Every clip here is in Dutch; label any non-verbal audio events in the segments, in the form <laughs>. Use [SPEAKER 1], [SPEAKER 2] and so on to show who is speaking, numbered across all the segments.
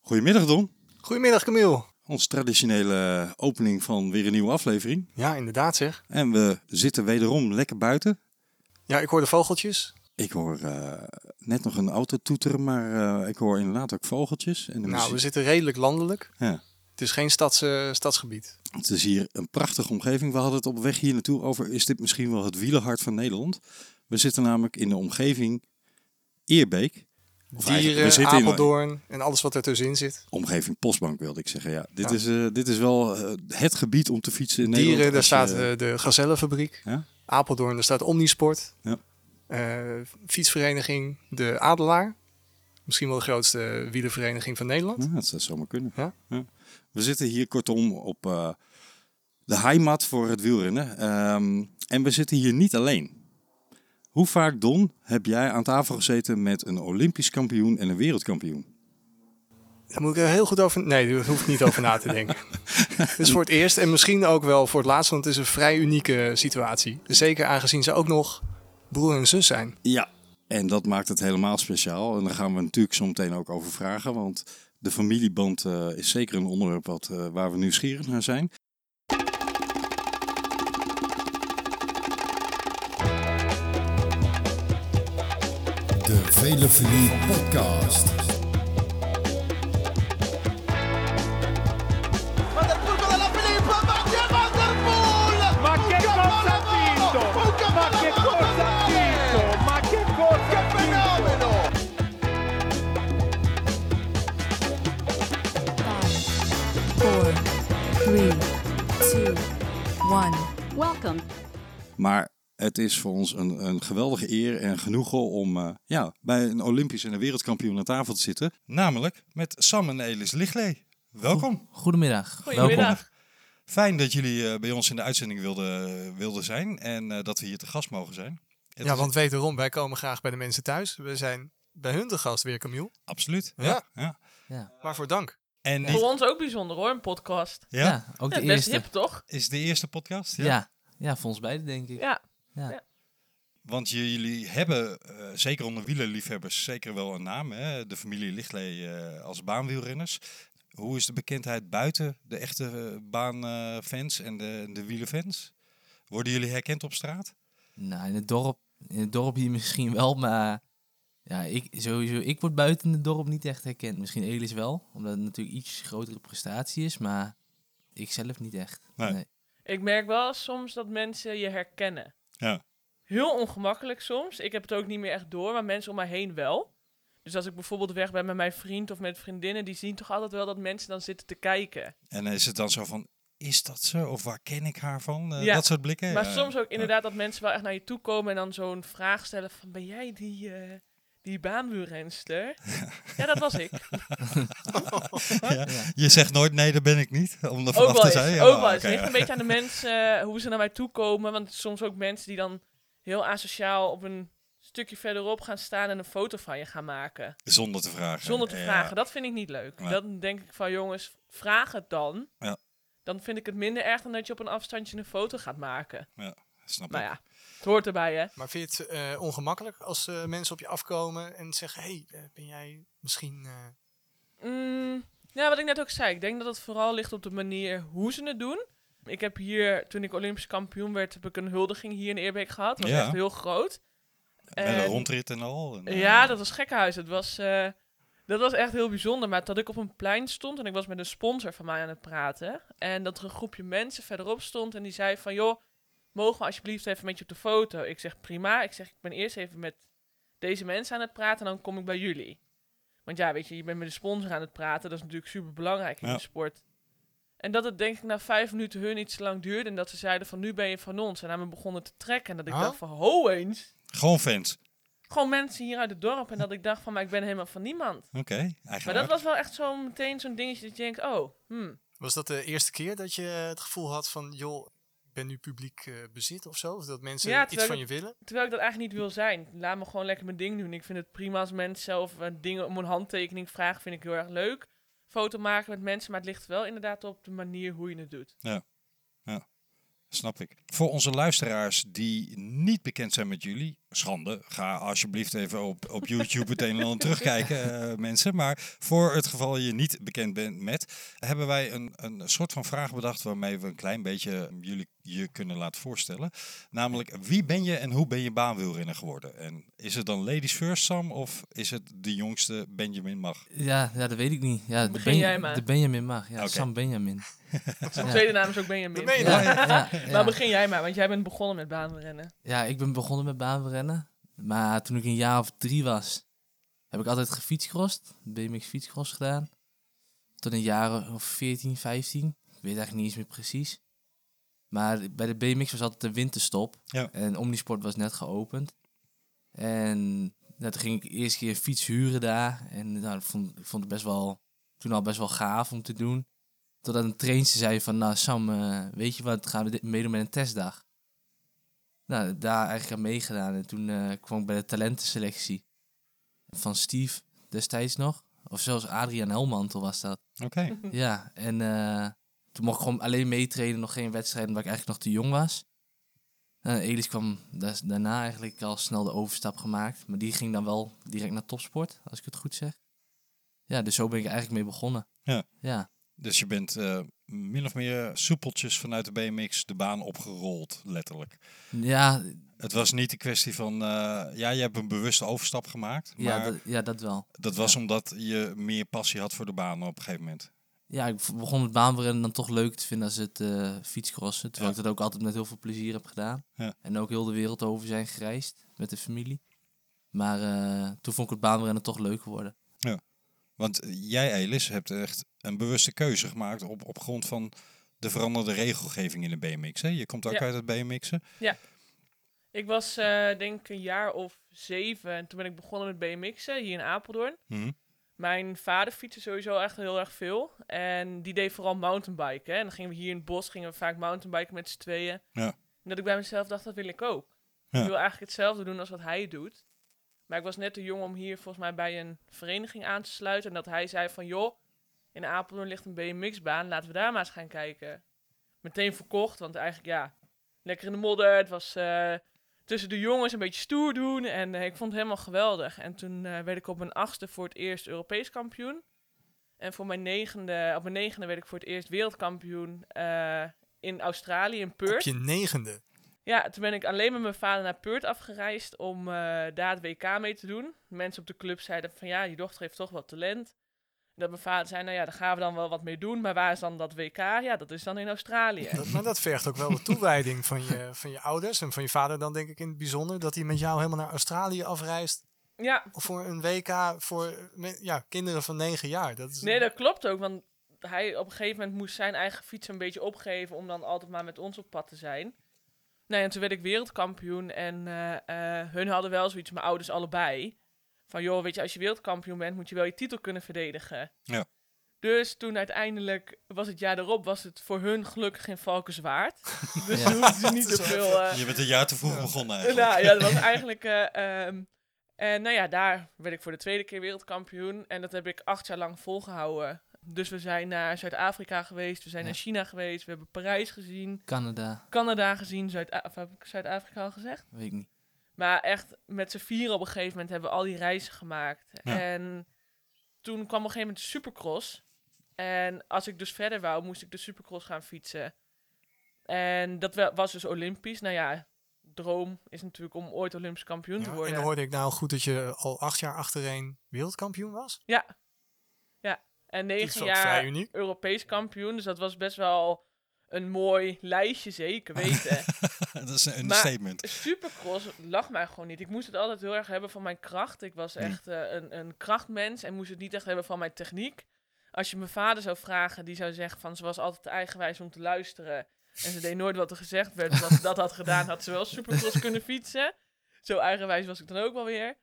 [SPEAKER 1] Goedemiddag Don.
[SPEAKER 2] Goedemiddag Camille.
[SPEAKER 1] Ons traditionele eh, opening van weer een nieuwe aflevering.
[SPEAKER 2] Ja, inderdaad zeg.
[SPEAKER 1] En we zitten wederom lekker buiten.
[SPEAKER 2] Ja, ik hoor de vogeltjes.
[SPEAKER 1] Ik hoor eh, net nog een auto toeteren, maar eh, ik hoor inderdaad ook vogeltjes. En de
[SPEAKER 2] Nou, we
[SPEAKER 1] muziek.
[SPEAKER 2] zitten redelijk landelijk.
[SPEAKER 1] Ja.
[SPEAKER 2] Het is geen stads, eh, stadsgebied.
[SPEAKER 1] Het is hier een prachtige omgeving. We hadden het op weg hier naartoe over, is dit misschien wel het wielenhart van Nederland? We zitten namelijk in de omgeving Eerbeek. Of eigenlijk, we
[SPEAKER 2] Dieren,
[SPEAKER 1] zitten in-
[SPEAKER 2] Apeldoorn en alles wat ertussenin zit.
[SPEAKER 1] Omgeving Postbank wilde ik zeggen, ja. Dit,
[SPEAKER 2] Ja.
[SPEAKER 1] Is, eh, dit is wel eh, het gebied om te fietsen in Nederland.
[SPEAKER 2] Dieren, daar
[SPEAKER 1] als je-
[SPEAKER 2] staat eh, de Gazellenfabriek.
[SPEAKER 1] Ja?
[SPEAKER 2] Apeldoorn, daar staat Omnisport.
[SPEAKER 1] Ja.
[SPEAKER 2] Eh, fietsvereniging De Adelaar. Misschien wel de grootste eh, wielervereniging van Nederland.
[SPEAKER 1] Ja, dat zou zomaar kunnen.
[SPEAKER 2] Ja?
[SPEAKER 1] We zitten hier kortom op eh, de heimat voor het wielrennen. Ehm, en we zitten hier niet alleen. Hoe vaak, Don, heb jij aan tafel gezeten met een Olympisch kampioen en een wereldkampioen?
[SPEAKER 2] Daar moet ik er heel goed over... Nee, daar hoef ik niet over na te <laughs> denken. Dus voor het eerst en misschien ook wel voor het laatst, want het is een vrij unieke situatie. Zeker aangezien ze ook nog broer en zus zijn.
[SPEAKER 1] Ja. En dat maakt het helemaal speciaal. En daar gaan we natuurlijk zo meteen ook over vragen. Want de familieband eh, is zeker een onderwerp wat, eh, waar we nieuwsgierig naar zijn.
[SPEAKER 3] De Velofilie Podcast.
[SPEAKER 4] Ma del turco della Filippa, ma di Van der Poel!
[SPEAKER 5] Ma che
[SPEAKER 4] Un
[SPEAKER 5] cosa ha vinto?
[SPEAKER 4] capolavoro! Un capolavoro
[SPEAKER 5] Ma che cosa ha
[SPEAKER 4] totale!
[SPEAKER 5] vinto? Ma che cosa ha vinto?
[SPEAKER 4] Fenomeno!
[SPEAKER 6] four, three, two, one.
[SPEAKER 7] Welcome.
[SPEAKER 1] Maar het is voor ons een, een geweldige eer en genoegen om eh, ja, bij een Olympisch en een wereldkampioen aan tafel te zitten. Namelijk met Sam en Elis Lichlee. Welkom.
[SPEAKER 8] Goedemiddag. Welkom.
[SPEAKER 1] Fijn dat jullie eh, bij ons in de uitzending wilden, wilden zijn en eh, dat we hier te gast mogen zijn. Het
[SPEAKER 2] Ja,
[SPEAKER 1] is-
[SPEAKER 2] want wederom, wij komen graag bij de mensen thuis. We zijn bij hun de gast weer, Camille.
[SPEAKER 1] Absoluut.
[SPEAKER 2] Ja.
[SPEAKER 1] ja.
[SPEAKER 2] Waarvoor dank.
[SPEAKER 1] En die-
[SPEAKER 9] Voor ons ook bijzonder hoor, een podcast.
[SPEAKER 1] ja?
[SPEAKER 8] Ja, ook
[SPEAKER 9] Ja,
[SPEAKER 8] de
[SPEAKER 9] best
[SPEAKER 8] eerste.
[SPEAKER 9] hip toch?
[SPEAKER 1] is de eerste podcast.
[SPEAKER 8] ja. Ja. voor ons beiden denk ik.
[SPEAKER 9] Ja.
[SPEAKER 1] Want j- jullie hebben, eh, zeker onder wielerliefhebbers, zeker wel een naam. Hè? De familie Lichtley eh, als baanwielrenners. Hoe is de bekendheid buiten de echte eh, baanfans en de, de wielerfans? Worden jullie herkend op straat?
[SPEAKER 8] Nou, in het dorp, in het dorp hier misschien wel, maar ja, ik, sowieso, ik word buiten het dorp niet echt herkend. Misschien Elis wel, omdat het natuurlijk iets grotere prestatie is, maar ik zelf niet echt.
[SPEAKER 1] Nee.
[SPEAKER 9] Ik merk wel soms dat mensen je herkennen.
[SPEAKER 1] Ja.
[SPEAKER 9] Heel ongemakkelijk soms. Ik heb het ook niet meer echt door, maar mensen om mij heen wel. Dus als ik bijvoorbeeld weg ben met mijn vriend of met vriendinnen, die zien toch altijd wel dat mensen dan zitten te kijken.
[SPEAKER 1] En is het dan zo van, is dat ze? Of waar ken ik haar van? Eh,
[SPEAKER 9] Ja.
[SPEAKER 1] Dat soort blikken.
[SPEAKER 9] maar
[SPEAKER 1] Ja,
[SPEAKER 9] soms ook
[SPEAKER 1] ja.
[SPEAKER 9] inderdaad dat mensen wel echt naar je toe komen en dan zo'n vraag stellen van, ben jij die, eh die baanwielrenster?
[SPEAKER 1] <laughs>
[SPEAKER 9] ja, dat was ik.
[SPEAKER 1] Je zegt nooit, nee, dat ben ik niet. Om er
[SPEAKER 9] Ook
[SPEAKER 1] vanaf
[SPEAKER 9] wel
[SPEAKER 1] te
[SPEAKER 9] eens.
[SPEAKER 1] zijn. Ja,
[SPEAKER 9] ook wel eens.
[SPEAKER 1] oké,
[SPEAKER 9] Het ligt
[SPEAKER 1] ja.
[SPEAKER 9] een beetje aan de mensen eh, hoe ze naar mij toe komen. Want soms ook mensen die dan heel asociaal op een stukje verderop gaan staan en een foto van je gaan maken.
[SPEAKER 1] Zonder te vragen.
[SPEAKER 9] Zonder te
[SPEAKER 1] Ja.
[SPEAKER 9] vragen. Dat vind ik niet leuk.
[SPEAKER 1] Nee.
[SPEAKER 9] Dan denk ik van jongens, vraag het dan.
[SPEAKER 1] Ja.
[SPEAKER 9] Dan vind ik het minder erg dan dat je op een afstandje een foto gaat maken.
[SPEAKER 1] Snap
[SPEAKER 9] Nou
[SPEAKER 1] ik.
[SPEAKER 9] ja, het hoort erbij hè.
[SPEAKER 2] Maar vind je het eh, ongemakkelijk als eh, mensen op je afkomen en zeggen... hey, eh, ben jij misschien... eh,
[SPEAKER 9] Mm, ja, wat ik net ook zei. Ik denk dat het vooral ligt op de manier hoe ze het doen. Ik heb hier, toen ik Olympisch kampioen werd, heb ik een huldiging hier in Eerbeek gehad. Dat was
[SPEAKER 1] Ja.
[SPEAKER 9] echt heel groot.
[SPEAKER 1] Met een
[SPEAKER 9] En-
[SPEAKER 1] rondrit en al. En, eh,
[SPEAKER 9] Ja, dat was gekkenhuis. Het was, eh, dat was echt heel bijzonder. Maar dat ik op een plein stond en ik was met een sponsor van mij aan het praten. En dat er een groepje mensen verderop stond en die zei van... joh, mogen we alsjeblieft even met je op de foto? Ik zeg, prima. Ik zeg, ik ben eerst even met deze mensen aan het praten en dan kom ik bij jullie. Want ja, weet je, je bent met een sponsor aan het praten. Dat is natuurlijk super belangrijk in
[SPEAKER 1] Ja.
[SPEAKER 9] de sport. En dat het denk ik na vijf minuten hun iets te lang duurde. En dat ze zeiden van, nu ben je van ons. En aan me begonnen te trekken. En dat ik
[SPEAKER 2] Huh?
[SPEAKER 9] dacht van, ho eens
[SPEAKER 1] eh, Gewoon fans.
[SPEAKER 9] gewoon mensen hier uit het dorp. En dat ik dacht van, maar ik ben helemaal van niemand.
[SPEAKER 1] Oké, eigenlijk.
[SPEAKER 9] Maar dat was wel echt zo meteen zo'n dingetje dat je denkt, oh, hmm.
[SPEAKER 2] was dat de eerste keer dat je het gevoel had van... joh, ik ben nu publiek eh, bezit of zo? Of dat mensen
[SPEAKER 9] Ja,
[SPEAKER 2] iets
[SPEAKER 9] terwijl
[SPEAKER 2] van
[SPEAKER 9] ik-
[SPEAKER 2] je willen?
[SPEAKER 9] Terwijl ik dat eigenlijk niet wil zijn. Laat me gewoon lekker mijn ding doen. Ik vind het prima als mensen zelf eh, dingen om een handtekening vragen, vind ik heel erg leuk. Foto maken met mensen, maar het ligt wel inderdaad op de manier hoe je het doet.
[SPEAKER 10] Snap ik. Voor onze luisteraars die niet bekend zijn met jullie, schande, ga alsjeblieft even op, <laughs> op YouTube het een en ander terugkijken, eh, mensen. Maar voor het geval je niet bekend bent met, hebben wij een, een soort van vraag bedacht waarmee we een klein beetje jullie je kunnen laten voorstellen. Namelijk, wie ben je en hoe ben je baanwielrenner geworden? En is het dan Ladies First Sam of is het de jongste Benjamin Mag?
[SPEAKER 8] Ja, ja, dat weet ik niet. Ja, de,
[SPEAKER 9] Begin
[SPEAKER 8] Ben-
[SPEAKER 9] jij maar.
[SPEAKER 8] de Benjamin mag. Ja,
[SPEAKER 10] Oké.
[SPEAKER 8] Sam Benjamin.
[SPEAKER 9] Zijn
[SPEAKER 8] Ja.
[SPEAKER 9] tweede naam is ook Benjamin.
[SPEAKER 2] Dat meen je
[SPEAKER 8] Ja, ja,
[SPEAKER 9] Maar
[SPEAKER 8] ja.
[SPEAKER 9] begin jij maar, want jij bent begonnen met baanrennen.
[SPEAKER 8] Ja, ik ben begonnen met baanrennen. Maar toen ik een jaar of drie was, heb ik altijd gefietscrossed. BMX fietscross gedaan. Tot een jaar of 14, 15. Ik weet eigenlijk niet eens meer precies. Maar bij de BMX was altijd de winterstop.
[SPEAKER 10] Ja.
[SPEAKER 8] En Omnisport was net geopend. En nou, toen ging ik eerst keer een fiets huren daar. En nou, ik, vond, ik vond het best wel, toen al best wel gaaf om te doen. Totdat een trainster zei van, nou Sam, eh, weet je wat, gaan we dit- meedoen met een testdag. Nou, daar eigenlijk aan meegedaan. En toen eh, kwam ik bij de talentenselectie van Steve destijds nog. Of zelfs Adriaan Helmantel was dat.
[SPEAKER 10] Oké,
[SPEAKER 8] Ja, en eh, toen mocht ik gewoon alleen meetrainen, nog geen wedstrijden, waar ik eigenlijk nog te jong was. En Elis kwam da- daarna eigenlijk al snel de overstap gemaakt. Maar die ging dan wel direct naar topsport, als ik het goed zeg. Ja, dus zo ben ik er eigenlijk mee begonnen.
[SPEAKER 10] Ja.
[SPEAKER 8] Ja,
[SPEAKER 10] <laughs> dus je bent eh, min of meer soepeltjes vanuit de BMX de baan opgerold, letterlijk.
[SPEAKER 8] ja,
[SPEAKER 10] Het was niet de kwestie van, eh, ja, je hebt een bewuste overstap gemaakt. Maar
[SPEAKER 8] ja,
[SPEAKER 10] dat,
[SPEAKER 8] dat, ja dat wel.
[SPEAKER 10] was omdat je meer passie had voor de baan op een gegeven moment.
[SPEAKER 8] Ja, ik v- begon het baanrennen dan toch leuk te vinden als het eh, fietscrossen. Terwijl
[SPEAKER 10] Ja.
[SPEAKER 8] ik dat ook altijd met heel veel plezier heb gedaan.
[SPEAKER 10] Ja.
[SPEAKER 8] En ook heel de wereld over zijn gereisd met de familie. Maar eh, toen vond ik het baanrennen toch leuk worden.
[SPEAKER 10] Want jij, Elis, hebt echt een bewuste keuze gemaakt op, op grond van de veranderde regelgeving in de BMX. Hè? Je komt ook
[SPEAKER 9] Ja.
[SPEAKER 10] uit het BMX'en.
[SPEAKER 9] Ik was eh, denk ik een jaar of zeven en toen ben ik begonnen met BMX'en hier in Apeldoorn.
[SPEAKER 10] Mhm.
[SPEAKER 9] Mijn vader fietste sowieso echt heel erg veel. En die deed vooral mountainbiken. hè. En dan gingen we hier in het bos gingen we vaak mountainbiken met z'n tweeën.
[SPEAKER 10] Ja.
[SPEAKER 9] En dat ik bij mezelf dacht, dat wil ik ook.
[SPEAKER 10] Ja.
[SPEAKER 9] Ik wil eigenlijk hetzelfde doen als wat hij doet. Maar ik was net te jong om hier volgens mij bij een vereniging aan te sluiten. En dat hij zei van, joh, in Apeldoorn ligt een BMX-baan. Laten we daar maar eens gaan kijken. Meteen verkocht, want eigenlijk ja, lekker in de modder. Het was eh, tussen de jongens een beetje stoer doen. En eh, ik vond het helemaal geweldig. En toen eh, werd ik op mijn achtste voor het eerst Europees kampioen. En voor mijn negende, op mijn negende werd ik voor het eerst wereldkampioen eh, in Australië, in
[SPEAKER 2] Op
[SPEAKER 9] Perth.
[SPEAKER 2] je negende.
[SPEAKER 9] Ja, toen ben ik alleen met mijn vader naar Perth afgereisd om eh, daar het WK mee te doen. Mensen op de club zeiden van ja, je dochter heeft toch wel talent. En dat mijn vader zei, nou ja, daar gaan we dan wel wat mee doen. Maar waar is dan dat WK? Ja, dat is dan in
[SPEAKER 2] <laughs>
[SPEAKER 9] Australië.
[SPEAKER 2] Dat- maar dat vergt ook wel de toewijding van je, van je ouders en van je vader dan denk ik in het bijzonder. Dat hij met jou helemaal naar Australië afreist
[SPEAKER 9] Ja,
[SPEAKER 2] voor een WK voor me- ja, kinderen van negen jaar. Dat is,
[SPEAKER 9] nee, dat klopt ook. Want hij op een gegeven moment moest zijn eigen fiets een beetje opgeven om dan altijd maar met ons op pad te zijn. Nee, en toen werd ik wereldkampioen en eh, eh, hun hadden wel zoiets, mijn ouders allebei. Van joh, weet je, als je wereldkampioen bent, moet je wel je titel kunnen verdedigen.
[SPEAKER 10] Ja.
[SPEAKER 9] Dus toen uiteindelijk was het jaar erop, was het voor hun gelukkig in Valkenswaard. Dus
[SPEAKER 8] Ja.
[SPEAKER 9] ze hoefden ze niet zoveel... eh,
[SPEAKER 10] Je bent een jaar te vroeg begonnen eigenlijk.
[SPEAKER 9] nou, ja, dat was eigenlijk. eh, ehm, en nou ja, daar werd ik voor de tweede keer wereldkampioen. En dat heb ik acht jaar lang volgehouden. Dus we zijn naar Zuid-Afrika geweest, we zijn
[SPEAKER 8] Ja.
[SPEAKER 9] naar China geweest, we hebben Parijs gezien,
[SPEAKER 8] Canada,
[SPEAKER 9] Canada gezien, Zuid of heb ik Zuid-Afrika al gezegd?
[SPEAKER 8] weet ik niet.
[SPEAKER 9] Maar echt, met z'n vier op een gegeven moment hebben we al die reizen gemaakt.
[SPEAKER 10] Ja.
[SPEAKER 9] En toen kwam op een gegeven moment de Supercross. En als ik dus verder wou, moest ik de Supercross gaan fietsen. En dat wa- was dus Olympisch. Nou ja, droom is natuurlijk om ooit Olympisch kampioen te
[SPEAKER 2] Ja, en
[SPEAKER 9] worden.
[SPEAKER 2] dan hoorde ik nou goed dat je al acht jaar achtereen wereldkampioen was.
[SPEAKER 9] Ja. Ja. En
[SPEAKER 2] Dat is
[SPEAKER 9] negen
[SPEAKER 2] ook vrij
[SPEAKER 9] jaar
[SPEAKER 2] uniek.
[SPEAKER 9] Europees kampioen. Dus dat was best wel een mooi lijstje,
[SPEAKER 2] <laughs>
[SPEAKER 9] zeker weten.
[SPEAKER 10] dat is een
[SPEAKER 9] Maar-
[SPEAKER 10] statement.
[SPEAKER 9] Supercross lag mij gewoon niet. Ik moest het altijd heel erg hebben van mijn kracht. Ik was echt eh, een, een krachtmens en moest het niet echt hebben van mijn techniek. Als je mijn vader zou vragen, die zou zeggen van ze was altijd te eigenwijs om te luisteren. En ze deed nooit wat er gezegd werd. Want als ze dat had gedaan, had ze wel supercross kunnen fietsen. Zo eigenwijs was ik dan ook wel weer.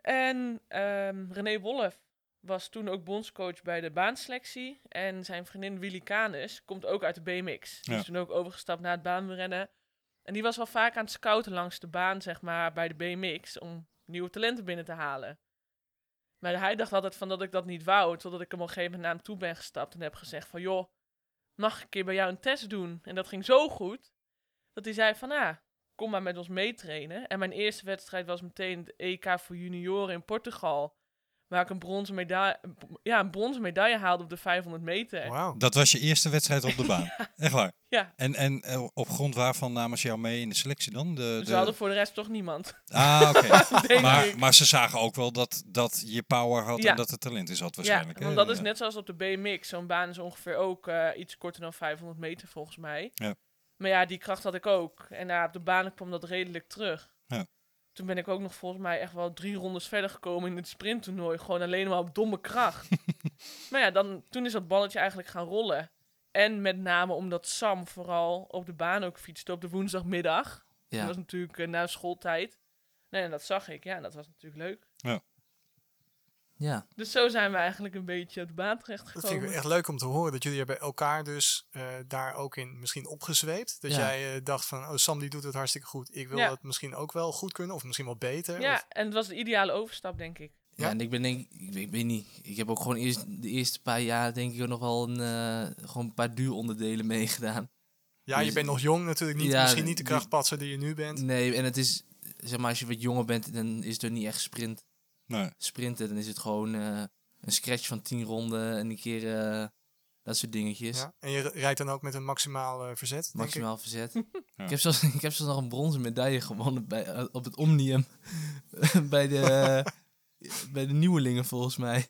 [SPEAKER 9] En ehm, René Wolf was toen ook bondscoach bij de baanselectie. En zijn vriendin Willy Canes komt ook uit de BMX. Die
[SPEAKER 10] Ja.
[SPEAKER 9] is toen ook overgestapt naar het baanrennen. En die was wel vaak aan het scouten langs de baan, zeg maar, bij de BMX. Om nieuwe talenten binnen te halen. Maar hij dacht altijd van dat ik dat niet wou. Totdat ik hem op een gegeven moment naar hem toe ben gestapt. En heb gezegd van, joh, mag ik een keer bij jou een test doen? En dat ging zo goed. Dat hij zei van, ah, kom maar met ons meetrainen. En mijn eerste wedstrijd was meteen het EK voor junioren in Portugal. Waar ik een bronzen medaille, ja, een bronzen medaille haalde op de 500 meter. Dus
[SPEAKER 2] Wauw.
[SPEAKER 10] Dat was je eerste
[SPEAKER 9] <laughs>
[SPEAKER 10] wedstrijd op de baan. Echt waar.
[SPEAKER 9] Ja.
[SPEAKER 10] En, en eh, op grond waarvan namen ze jou mee in de selectie dan? De,
[SPEAKER 9] Dus
[SPEAKER 10] de-
[SPEAKER 9] we hadden voor de rest toch niemand. <laughs>
[SPEAKER 10] <laughs> Ah, oké.
[SPEAKER 9] Denk
[SPEAKER 10] eh, maar,
[SPEAKER 9] ik.
[SPEAKER 10] maar ze zagen ook wel dat, dat je power had
[SPEAKER 9] Ja.
[SPEAKER 10] en dat er talent in zat waarschijnlijk.
[SPEAKER 9] ja,
[SPEAKER 10] hè?
[SPEAKER 9] want dat is net zoals op de BMX. Zo'n baan is ongeveer ook eh, iets korter dan 500 meter volgens mij.
[SPEAKER 10] Ja.
[SPEAKER 9] Maar ja, die kracht had ik ook. En ja, op de banen kwam dat redelijk terug.
[SPEAKER 10] Ja.
[SPEAKER 9] Toen ben ik ook nog volgens mij echt wel drie rondes verder gekomen in het sprinttoernooi. Gewoon alleen maar op domme kracht. maar ja, dan, toen is dat balletje eigenlijk gaan rollen. En met name omdat Sam vooral op de baan ook fietste op de woensdagmiddag.
[SPEAKER 8] Ja.
[SPEAKER 9] Dat was natuurlijk eh, na schooltijd. Nee, en dat zag ik. Ja, en dat was natuurlijk leuk.
[SPEAKER 8] ja.
[SPEAKER 9] Dus zo zijn we eigenlijk een beetje op de baan
[SPEAKER 2] Dat vind ik
[SPEAKER 9] terechtgekomen.
[SPEAKER 2] echt leuk om te horen. Dat jullie hebben elkaar dus eh, daar ook in misschien opgezweept. Dat
[SPEAKER 8] Ja.
[SPEAKER 2] jij eh, dacht van, oh Sam die doet het hartstikke goed. Ik wil
[SPEAKER 9] Ja.
[SPEAKER 2] dat misschien ook wel goed kunnen. Of misschien wel beter.
[SPEAKER 9] Ja,
[SPEAKER 2] Of-
[SPEAKER 9] en het was de ideale overstap, denk ik.
[SPEAKER 8] Ja, en ik ben denk ik, weet- ik weet niet, ik heb ook gewoon eerst, de eerste paar jaar denk ik ook nog wel een, eh, gewoon een paar duuronderdelen meegedaan.
[SPEAKER 2] ja, je
[SPEAKER 8] Dus-
[SPEAKER 2] bent nog jong natuurlijk. Niet,
[SPEAKER 8] Ja,
[SPEAKER 2] misschien niet de
[SPEAKER 8] die-
[SPEAKER 2] krachtpatser die je nu bent.
[SPEAKER 8] Nee, en het is, zeg maar, als je wat jonger bent, dan is het ook niet echt sprint,
[SPEAKER 10] Nee.
[SPEAKER 8] sprinten. Dan is het gewoon eh, een scratch van tien ronden en een keer eh, dat soort dingetjes.
[SPEAKER 2] Ja. En je rijdt dan ook met een maximaal eh, verzet, denk ik.
[SPEAKER 8] Maximaal
[SPEAKER 2] <laughs>
[SPEAKER 8] verzet. Ik, heb zelfs, <laughs> ik heb zelfs nog een bronzen medaille gewonnen bij, eh, op het Omnium. <laughs> bij, de, eh, bij de nieuwelingen volgens mij.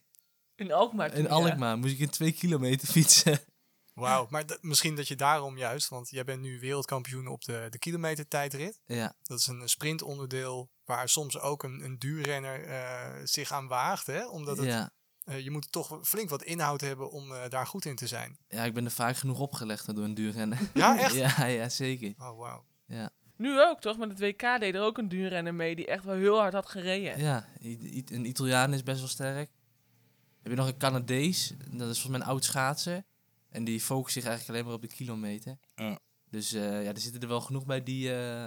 [SPEAKER 9] In Alkmaar. toen,
[SPEAKER 8] In
[SPEAKER 9] ja.
[SPEAKER 8] Alkmaar moest ik in twee kilometer fietsen. <laughs>
[SPEAKER 2] Wauw, maar d- misschien dat je daarom juist, want jij bent nu wereldkampioen op de, de kilometertijdrit.
[SPEAKER 8] ja,
[SPEAKER 2] Dat is een eh, sprintonderdeel waar soms ook een, een duurrenner eh, zich aan waagt. Hè? Omdat het,
[SPEAKER 8] ja.
[SPEAKER 2] eh, je moet toch flink wat inhoud hebben om eh, daar goed in te
[SPEAKER 8] <laughs>
[SPEAKER 2] zijn.
[SPEAKER 8] ja, ik ben er vaak genoeg opgelegd door een duurrenner.
[SPEAKER 2] Ja, echt?
[SPEAKER 8] <laughs> Ja, ja, zeker.
[SPEAKER 2] Oh, wauw.
[SPEAKER 9] Nu ook, toch? Met het WK deed er ook een duurrenner mee die echt wel heel hard had gereden.
[SPEAKER 8] Ja, I- I- een Italiaan is best wel sterk. Heb je nog een Canadees, dat is volgens mij een oud schaatser. En die focust zich eigenlijk alleen maar op de kilometer.
[SPEAKER 10] Ja.
[SPEAKER 8] Dus eh, ja, er zitten er wel genoeg bij die, eh,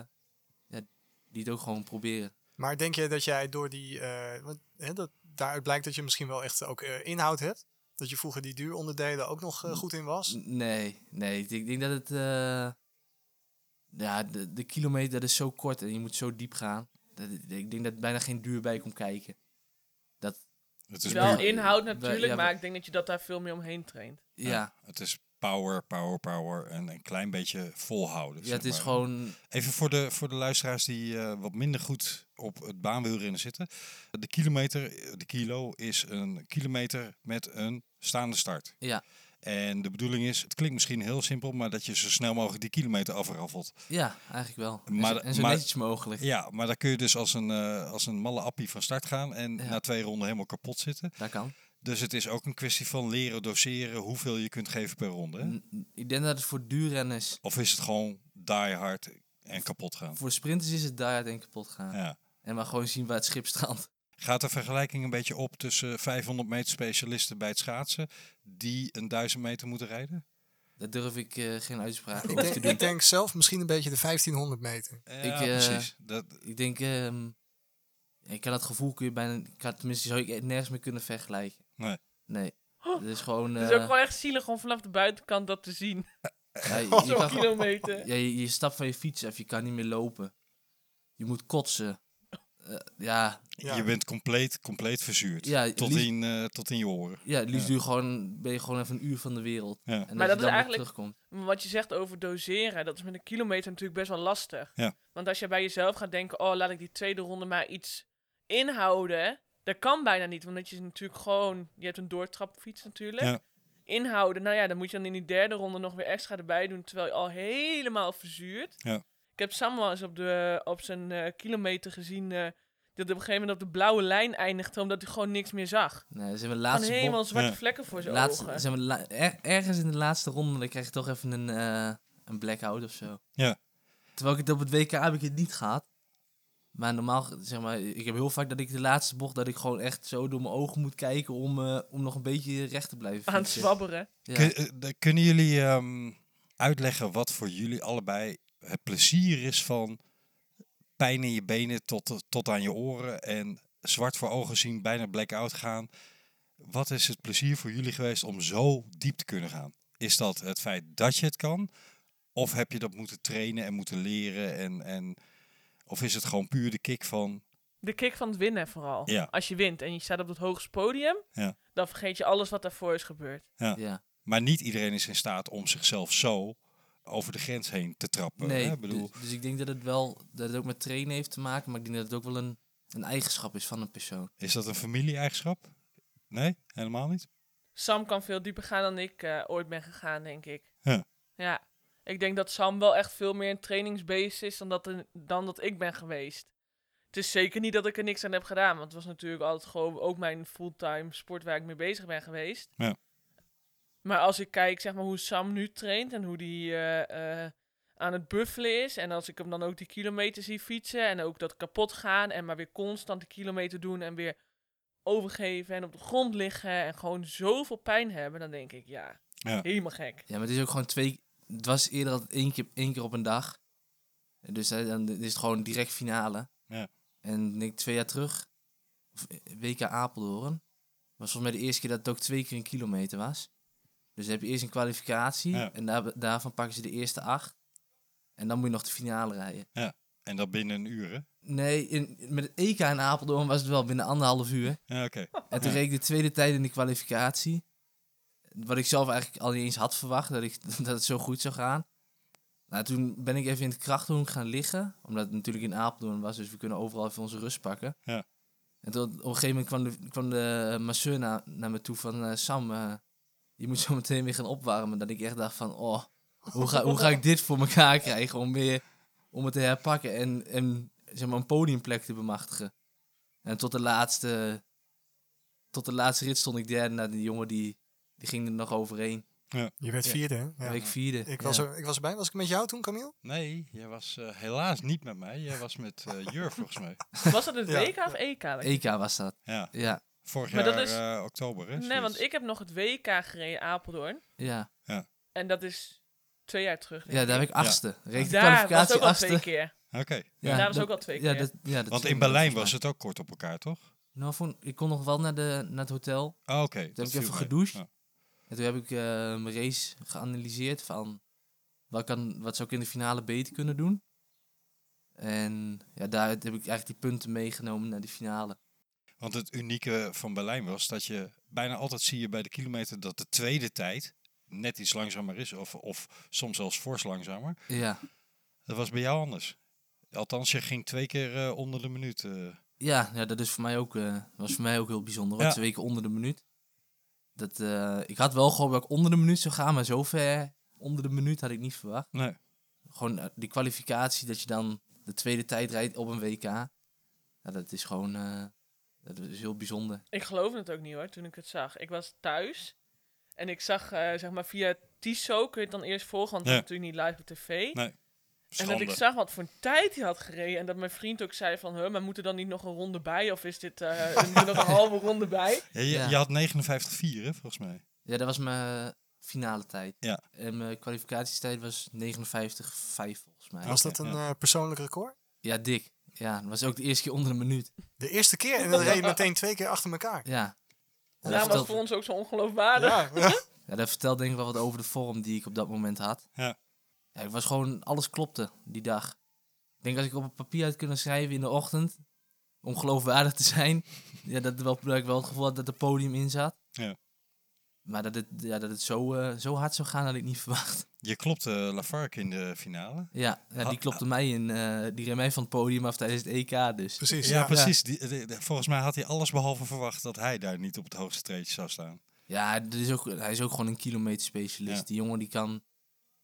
[SPEAKER 8] ja, die het ook gewoon proberen.
[SPEAKER 2] Maar denk je dat jij door die... eh, want, hè, dat, daaruit blijkt dat je misschien wel echt ook eh, inhoud hebt. Dat je vroeger die duuronderdelen ook nog eh, goed in was.
[SPEAKER 8] N- Nee, nee. Ik denk, ik denk dat het. eh, ja, de, de kilometer dat is zo kort en je moet zo diep gaan. Dat, ik denk dat er bijna geen duur bij komt kijken.
[SPEAKER 10] Het is,
[SPEAKER 9] wel
[SPEAKER 10] puur-
[SPEAKER 9] inhoud
[SPEAKER 8] Wij-
[SPEAKER 9] natuurlijk,
[SPEAKER 8] ja,
[SPEAKER 9] maar
[SPEAKER 8] wij-
[SPEAKER 9] ik denk dat je dat daar veel meer omheen traint.
[SPEAKER 8] Ja,
[SPEAKER 10] het is power, power, power en een klein beetje volhouden.
[SPEAKER 8] ja
[SPEAKER 10] zeg
[SPEAKER 8] het is
[SPEAKER 10] maar.
[SPEAKER 8] gewoon.
[SPEAKER 10] Even voor de, voor de luisteraars die eh, wat minder goed op het baanwielrennen zitten. De kilometer, de kilo, is een kilometer met een staande start.
[SPEAKER 8] Ja.
[SPEAKER 10] En de bedoeling is, het klinkt misschien heel simpel, maar dat je zo snel mogelijk die kilometer afraffelt.
[SPEAKER 8] Ja, eigenlijk wel. En
[SPEAKER 10] Maar-
[SPEAKER 8] zo, en zo
[SPEAKER 10] maar-
[SPEAKER 8] netjes mogelijk.
[SPEAKER 10] Ja, maar dan kun je dus als een, eh, als een malle appie van start gaan en
[SPEAKER 8] Ja.
[SPEAKER 10] na twee ronden helemaal kapot zitten.
[SPEAKER 8] Dat kan.
[SPEAKER 10] Dus het is ook een kwestie van leren doseren hoeveel je kunt geven per ronde. hè?
[SPEAKER 8] N- Ik denk dat het voor duurrenners.
[SPEAKER 10] Of is het gewoon die hard en kapot gaan?
[SPEAKER 8] Voor sprinters is het daar denk ik kapot gaan.
[SPEAKER 10] Ja.
[SPEAKER 8] En maar gewoon zien waar het schip strandt. <laughs>
[SPEAKER 10] Gaat de vergelijking een beetje op tussen 500 meter specialisten bij het schaatsen die een 1000 meter moeten rijden?
[SPEAKER 8] Daar durf ik eh, geen uitspraak
[SPEAKER 2] Ik
[SPEAKER 8] over
[SPEAKER 2] denk,
[SPEAKER 8] te doen.
[SPEAKER 2] ik denk zelf misschien een beetje de 1500 meter.
[SPEAKER 10] Ja,
[SPEAKER 8] eh,
[SPEAKER 10] precies. Dat,
[SPEAKER 8] Ik denk. ehm, ik kan dat gevoel kun je bijna. Ik kan, tenminste, zou ik het nergens meer kunnen vergelijken.
[SPEAKER 10] Nee.
[SPEAKER 8] Nee. Het is gewoon.
[SPEAKER 9] Het Oh. is ook
[SPEAKER 8] eh,
[SPEAKER 9] gewoon echt zielig om vanaf de buitenkant dat te zien.
[SPEAKER 8] ja,
[SPEAKER 9] <laughs>
[SPEAKER 8] je, je
[SPEAKER 9] Zo'n
[SPEAKER 8] kan gewoon-
[SPEAKER 9] kilometer.
[SPEAKER 8] ja, je, je stapt van je fiets af, je kan niet meer lopen. Je moet kotsen. Eh, ja,
[SPEAKER 2] Ja.
[SPEAKER 10] Je bent compleet, compleet verzuurd.
[SPEAKER 8] Ja,
[SPEAKER 10] tot,
[SPEAKER 8] lief-
[SPEAKER 10] in, eh, tot in je oren.
[SPEAKER 8] ja, het liefst doe je gewoon, ben je gewoon even een uur van de wereld.
[SPEAKER 10] Ja.
[SPEAKER 8] En
[SPEAKER 9] Maar
[SPEAKER 8] je
[SPEAKER 9] dat is
[SPEAKER 8] dan weer
[SPEAKER 9] eigenlijk-
[SPEAKER 8] terugkomt.
[SPEAKER 9] Wat je zegt over doseren, dat is met een kilometer natuurlijk best wel lastig.
[SPEAKER 10] Ja.
[SPEAKER 9] Want als je bij jezelf gaat denken, oh laat ik die tweede ronde maar iets inhouden. Dat kan bijna niet, omdat je natuurlijk gewoon, je hebt een doortrapfiets natuurlijk.
[SPEAKER 10] Ja.
[SPEAKER 9] Inhouden, nou ja, dan moet je dan in die derde ronde nog weer extra erbij doen, terwijl je al helemaal verzuurt.
[SPEAKER 10] Ja.
[SPEAKER 9] Ik heb Samuel eens op, de, op zijn eh, kilometer gezien eh, dat hij op een gegeven moment op de blauwe lijn eindigde, omdat hij gewoon niks meer zag.
[SPEAKER 8] Nee, dus in mijn
[SPEAKER 9] Van
[SPEAKER 8] laatste bocht-
[SPEAKER 9] helemaal zwarte
[SPEAKER 10] Ja.
[SPEAKER 9] vlekken voor zijn
[SPEAKER 8] laatste,
[SPEAKER 9] ogen.
[SPEAKER 8] zeg maar, la- er- ergens in de laatste ronde dan krijg je toch even een, eh, een blackout of zo.
[SPEAKER 10] Ja.
[SPEAKER 8] Terwijl ik het op het WK heb ik het niet gehad. Maar normaal, ge- zeg maar, ik heb heel vaak dat ik de laatste bocht, dat ik gewoon echt zo door mijn ogen moet kijken om, eh, om nog een beetje recht te blijven
[SPEAKER 9] Aan het
[SPEAKER 8] fietsen.
[SPEAKER 9] zwabberen.
[SPEAKER 8] Ja.
[SPEAKER 10] Kun- eh, de- kunnen jullie ehm, uitleggen wat voor jullie allebei het plezier is van pijn in je benen tot, tot aan je oren en zwart voor ogen zien, bijna blackout gaan? Wat is het plezier voor jullie geweest om zo diep te kunnen gaan? Is dat het feit dat je het kan? Of heb je dat moeten trainen en moeten leren? En, en, of is het gewoon puur de kick van...
[SPEAKER 9] De kick van het winnen vooral.
[SPEAKER 10] Ja.
[SPEAKER 9] Als je wint en je staat op het hoogste podium,
[SPEAKER 10] Ja.
[SPEAKER 9] dan vergeet je alles wat daarvoor is gebeurd.
[SPEAKER 10] Ja.
[SPEAKER 8] Ja.
[SPEAKER 10] Maar niet iedereen is in staat om zichzelf zo over de grens heen te trappen.
[SPEAKER 8] Nee,
[SPEAKER 10] hè? Oh, Ik bedoel,
[SPEAKER 8] dus, dus ik denk dat het wel dat het ook met trainen heeft te maken, maar ik denk dat het ook wel een, een eigenschap is van een persoon.
[SPEAKER 10] Is dat een familie-eigenschap? Nee, helemaal niet.
[SPEAKER 9] Sam kan veel dieper gaan dan ik eh, ooit ben gegaan, denk ik.
[SPEAKER 10] Ja.
[SPEAKER 9] Ja. Ik denk dat Sam wel echt veel meer een trainingsbeest is dan dat, een- dan dat ik ben geweest. Het is zeker niet dat ik er niks aan heb gedaan, want het was natuurlijk altijd gewoon ook mijn fulltime sport waar ik mee bezig ben geweest.
[SPEAKER 10] Ja.
[SPEAKER 9] Maar als ik kijk zeg maar, hoe Sam nu traint en hoe die eh, eh, aan het buffelen is, en als ik hem dan ook die kilometer zie fietsen en ook dat kapot gaan en maar weer constant de kilometer doen en weer overgeven en op de grond liggen en gewoon zoveel pijn hebben, dan denk ik, ja,
[SPEAKER 10] Ja.
[SPEAKER 9] helemaal gek.
[SPEAKER 8] <laughs> Ja, maar het is ook gewoon twee. Het was eerder altijd één keer, één keer op een dag. En Dus eh, dan is het gewoon direct finale.
[SPEAKER 10] Ja.
[SPEAKER 8] En ik denk twee jaar terug, of eh, WK Apeldoorn, was volgens mij de eerste keer dat het ook twee keer een kilometer was. Dus dan heb je eerst een kwalificatie
[SPEAKER 10] Ja.
[SPEAKER 8] en daar, daarvan pakken ze de eerste acht. En dan moet je nog de finale rijden.
[SPEAKER 10] En dat binnen een uur, hè?
[SPEAKER 8] Nee, in, met het EK in Apeldoorn was het wel binnen anderhalf uur.
[SPEAKER 10] Ja, oké.
[SPEAKER 8] En toen
[SPEAKER 10] Ja.
[SPEAKER 8] reed ik de tweede tijd in de kwalificatie. Wat ik zelf eigenlijk al niet eens had verwacht, dat, ik, <laughs> dat het zo goed zou gaan. Nou, toen ben ik even in het krachtdoen gaan liggen. Omdat het natuurlijk in Apeldoorn was, dus we kunnen overal even onze rust pakken.
[SPEAKER 10] Ja.
[SPEAKER 8] En toen, op een gegeven moment kwam de, kwam de eh, masseur na, naar me toe van... eh, Sam, eh, je moet zo meteen weer gaan opwarmen. Dat ik echt dacht van, oh, hoe ga, hoe ga ik dit voor elkaar krijgen om, weer, om het te herpakken? En, en zeg maar, een podiumplek te bemachtigen. En tot de laatste tot de laatste rit stond ik derde. Nou, die jongen die, die ging er nog overheen.
[SPEAKER 2] Je werd
[SPEAKER 8] Ja.
[SPEAKER 2] vierde, hè?
[SPEAKER 8] Ja.
[SPEAKER 2] Ja.
[SPEAKER 8] Ik vierde.
[SPEAKER 2] Ik was,
[SPEAKER 8] ja.
[SPEAKER 2] er, ik was erbij. Was ik met jou toen, Camille?
[SPEAKER 10] Nee, jij was eh, helaas niet met mij. Jij was met
[SPEAKER 9] <laughs>
[SPEAKER 10] eh Jur, volgens mij.
[SPEAKER 9] Was dat het
[SPEAKER 2] Ja.
[SPEAKER 9] WK of E EK?
[SPEAKER 8] EK was dat.
[SPEAKER 10] Ja,
[SPEAKER 8] Ja,
[SPEAKER 10] vorig
[SPEAKER 9] Maar dat
[SPEAKER 10] jaar
[SPEAKER 9] is-
[SPEAKER 10] eh, oktober, hè?
[SPEAKER 9] Nee,
[SPEAKER 10] zoiets.
[SPEAKER 9] want ik heb nog het WK gereden Apeldoorn.
[SPEAKER 8] ja.
[SPEAKER 9] En dat is twee jaar terug. denk
[SPEAKER 8] ja
[SPEAKER 9] ik.
[SPEAKER 8] daar heb ik achtste. Reed de
[SPEAKER 9] Daar was
[SPEAKER 8] kwalificatie
[SPEAKER 9] ook al twee
[SPEAKER 8] achtste.
[SPEAKER 9] keer.
[SPEAKER 10] Oké.
[SPEAKER 9] daar was
[SPEAKER 8] dat-
[SPEAKER 9] ook al twee
[SPEAKER 8] Ja,
[SPEAKER 9] keer.
[SPEAKER 8] dat, ja, dat
[SPEAKER 10] Want
[SPEAKER 8] stond
[SPEAKER 10] in
[SPEAKER 8] er
[SPEAKER 10] Berlijn
[SPEAKER 8] volgens
[SPEAKER 10] was
[SPEAKER 8] mij.
[SPEAKER 10] het ook kort op elkaar, toch?
[SPEAKER 8] Nou, vond- ik kon nog wel naar, de, naar het hotel.
[SPEAKER 10] Ah, oké. dat
[SPEAKER 8] heb ik
[SPEAKER 10] viel
[SPEAKER 8] even
[SPEAKER 10] mee.
[SPEAKER 8] gedoucht.
[SPEAKER 10] Ja.
[SPEAKER 8] En toen heb ik eh, mijn race geanalyseerd van... Wat, kan, wat zou ik in de finale beter kunnen doen? En ja, daaruit heb ik eigenlijk die punten meegenomen naar die finale.
[SPEAKER 10] Want het unieke van Berlijn was dat je bijna altijd zie je bij de kilometer dat de tweede tijd net iets langzamer is. Of, of soms zelfs fors langzamer.
[SPEAKER 8] Ja,
[SPEAKER 10] Dat was bij jou anders. Althans, je ging twee keer eh, onder de minuut. eh.
[SPEAKER 8] Ja, ja dat is voor mij ook, eh, was voor mij ook heel bijzonder. hoor.
[SPEAKER 10] Ja.
[SPEAKER 8] Twee weken onder de minuut. Dat, eh, ik had wel gehoopt dat ik onder de minuut zou gaan, maar zover onder de minuut had ik niet verwacht.
[SPEAKER 10] Nee.
[SPEAKER 8] Gewoon eh, die kwalificatie dat je dan de tweede tijd rijdt op een WK. Ja, dat is gewoon eh, dat is heel bijzonder.
[SPEAKER 9] Ik geloofde het ook niet hoor, toen ik het zag. Ik was thuis. En ik zag, eh, zeg maar, via Tiso kun je het dan eerst volgen, want
[SPEAKER 10] Ja.
[SPEAKER 9] het is natuurlijk niet live op tv.
[SPEAKER 10] Nee,
[SPEAKER 9] en dat ik
[SPEAKER 10] Schande.
[SPEAKER 9] zag wat voor een tijd hij had gereden. En dat mijn vriend ook zei van, huh, maar moet er dan niet nog een ronde bij? Of is dit eh, er moet nog een halve ronde bij?
[SPEAKER 10] Ja, je,
[SPEAKER 8] Ja.
[SPEAKER 10] je had 59,4 hè, volgens mij.
[SPEAKER 8] Ja, dat was mijn finale tijd.
[SPEAKER 10] Ja.
[SPEAKER 8] En mijn kwalificatietijd was 59,5 volgens mij.
[SPEAKER 10] Oh.
[SPEAKER 2] Was dat een
[SPEAKER 10] ja.
[SPEAKER 2] eh, persoonlijk record?
[SPEAKER 8] Ja, dik. Ja, dat was ook de eerste keer onder de minuut.
[SPEAKER 2] De eerste keer. En dan reed je meteen twee keer achter elkaar.
[SPEAKER 8] Ja. Ja,
[SPEAKER 9] Daarom
[SPEAKER 8] vertel-
[SPEAKER 9] was het voor ons ook zo ongeloofwaardig.
[SPEAKER 2] Nou, Ja,
[SPEAKER 8] Ja, dat vertelt denk ik wel wat over de vorm die ik op dat moment had.
[SPEAKER 10] Ja.
[SPEAKER 8] Ja, ik was gewoon, alles klopte die dag. Ik denk als ik op een papier had kunnen schrijven in de ochtend, om geloofwaardig te zijn, <laughs> ja, dat, wel, dat ik wel het gevoel had dat er podium in zat.
[SPEAKER 10] Ja.
[SPEAKER 8] Maar dat het, ja, dat het zo, eh, zo hard zou gaan, had ik niet <laughs> verwacht.
[SPEAKER 10] Je klopte Lafargue in de finale.
[SPEAKER 8] Ja, ja die
[SPEAKER 10] Ah,
[SPEAKER 8] klopte mij in, eh, die reed mij van het podium af tijdens het EK dus.
[SPEAKER 2] precies.
[SPEAKER 10] Ja, precies. Die, de- de- volgens mij had hij alles behalve verwacht dat hij daar niet op het hoogste treedje zou staan.
[SPEAKER 8] Ja, dat is ook, hij is ook gewoon een kilometerspecialist.
[SPEAKER 10] Ja.
[SPEAKER 8] Die jongen die kan,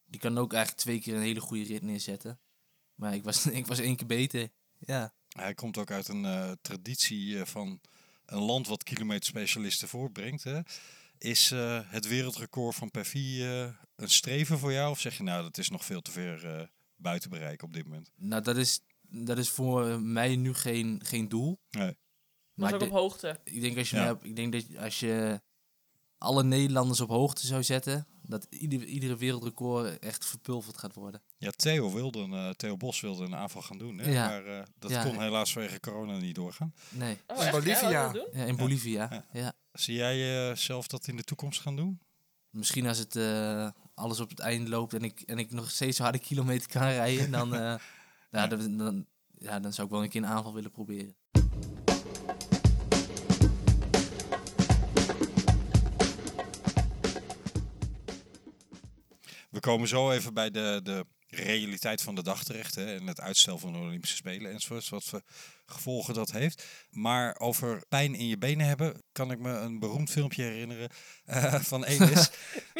[SPEAKER 8] die kan ook eigenlijk twee keer een hele goede rit neerzetten. Maar ik was, <laughs> ik was één keer beter. Ja,
[SPEAKER 10] Hij komt ook uit een eh, traditie eh, van een land wat kilometerspecialisten voortbrengt. Hè. Is eh, het wereldrecord van Perfie eh, een streven voor jou? Of zeg je nou, dat is nog veel te ver eh, buiten bereik op dit moment?
[SPEAKER 8] nou dat is, dat is voor mij nu geen, geen doel.
[SPEAKER 10] Nee.
[SPEAKER 9] was
[SPEAKER 8] Maar
[SPEAKER 9] ook
[SPEAKER 8] ik,
[SPEAKER 9] op
[SPEAKER 8] de-
[SPEAKER 9] hoogte.
[SPEAKER 8] ik denk als je,
[SPEAKER 10] Ja.
[SPEAKER 8] mij op- ik denk dat je- als je alle Nederlanders op hoogte zou zetten, dat ieder, iedere wereldrecord echt verpulverd gaat worden.
[SPEAKER 10] Ja, Theo, wilde een, eh, Theo Bos wilde een aanval gaan doen. Hè?
[SPEAKER 8] Ja.
[SPEAKER 10] Maar eh, dat
[SPEAKER 8] Ja.
[SPEAKER 10] kon helaas vanwege corona niet doorgaan.
[SPEAKER 8] Nee,
[SPEAKER 9] Oh,
[SPEAKER 2] In
[SPEAKER 9] echt? Ja,
[SPEAKER 2] Bolivia.
[SPEAKER 9] wou je dat doen?
[SPEAKER 8] ja, in Bolivia. Ja.
[SPEAKER 10] Zie jij eh, zelf dat in de toekomst gaan doen?
[SPEAKER 8] Misschien als het, eh, alles op het eind loopt en ik, en ik nog steeds zo harde kilometer kan rijden, dan, eh, <laughs> ja, dan, dan, ja, dan zou ik wel een keer een aanval willen proberen.
[SPEAKER 10] We komen zo even bij de, de realiteit van de dag terecht. Hè, en het uitstel van de Olympische Spelen enzovoorts. Wat voor gevolgen dat heeft. Maar over pijn in je benen hebben. kan ik me een beroemd filmpje herinneren. eh, <laughs> van Elis.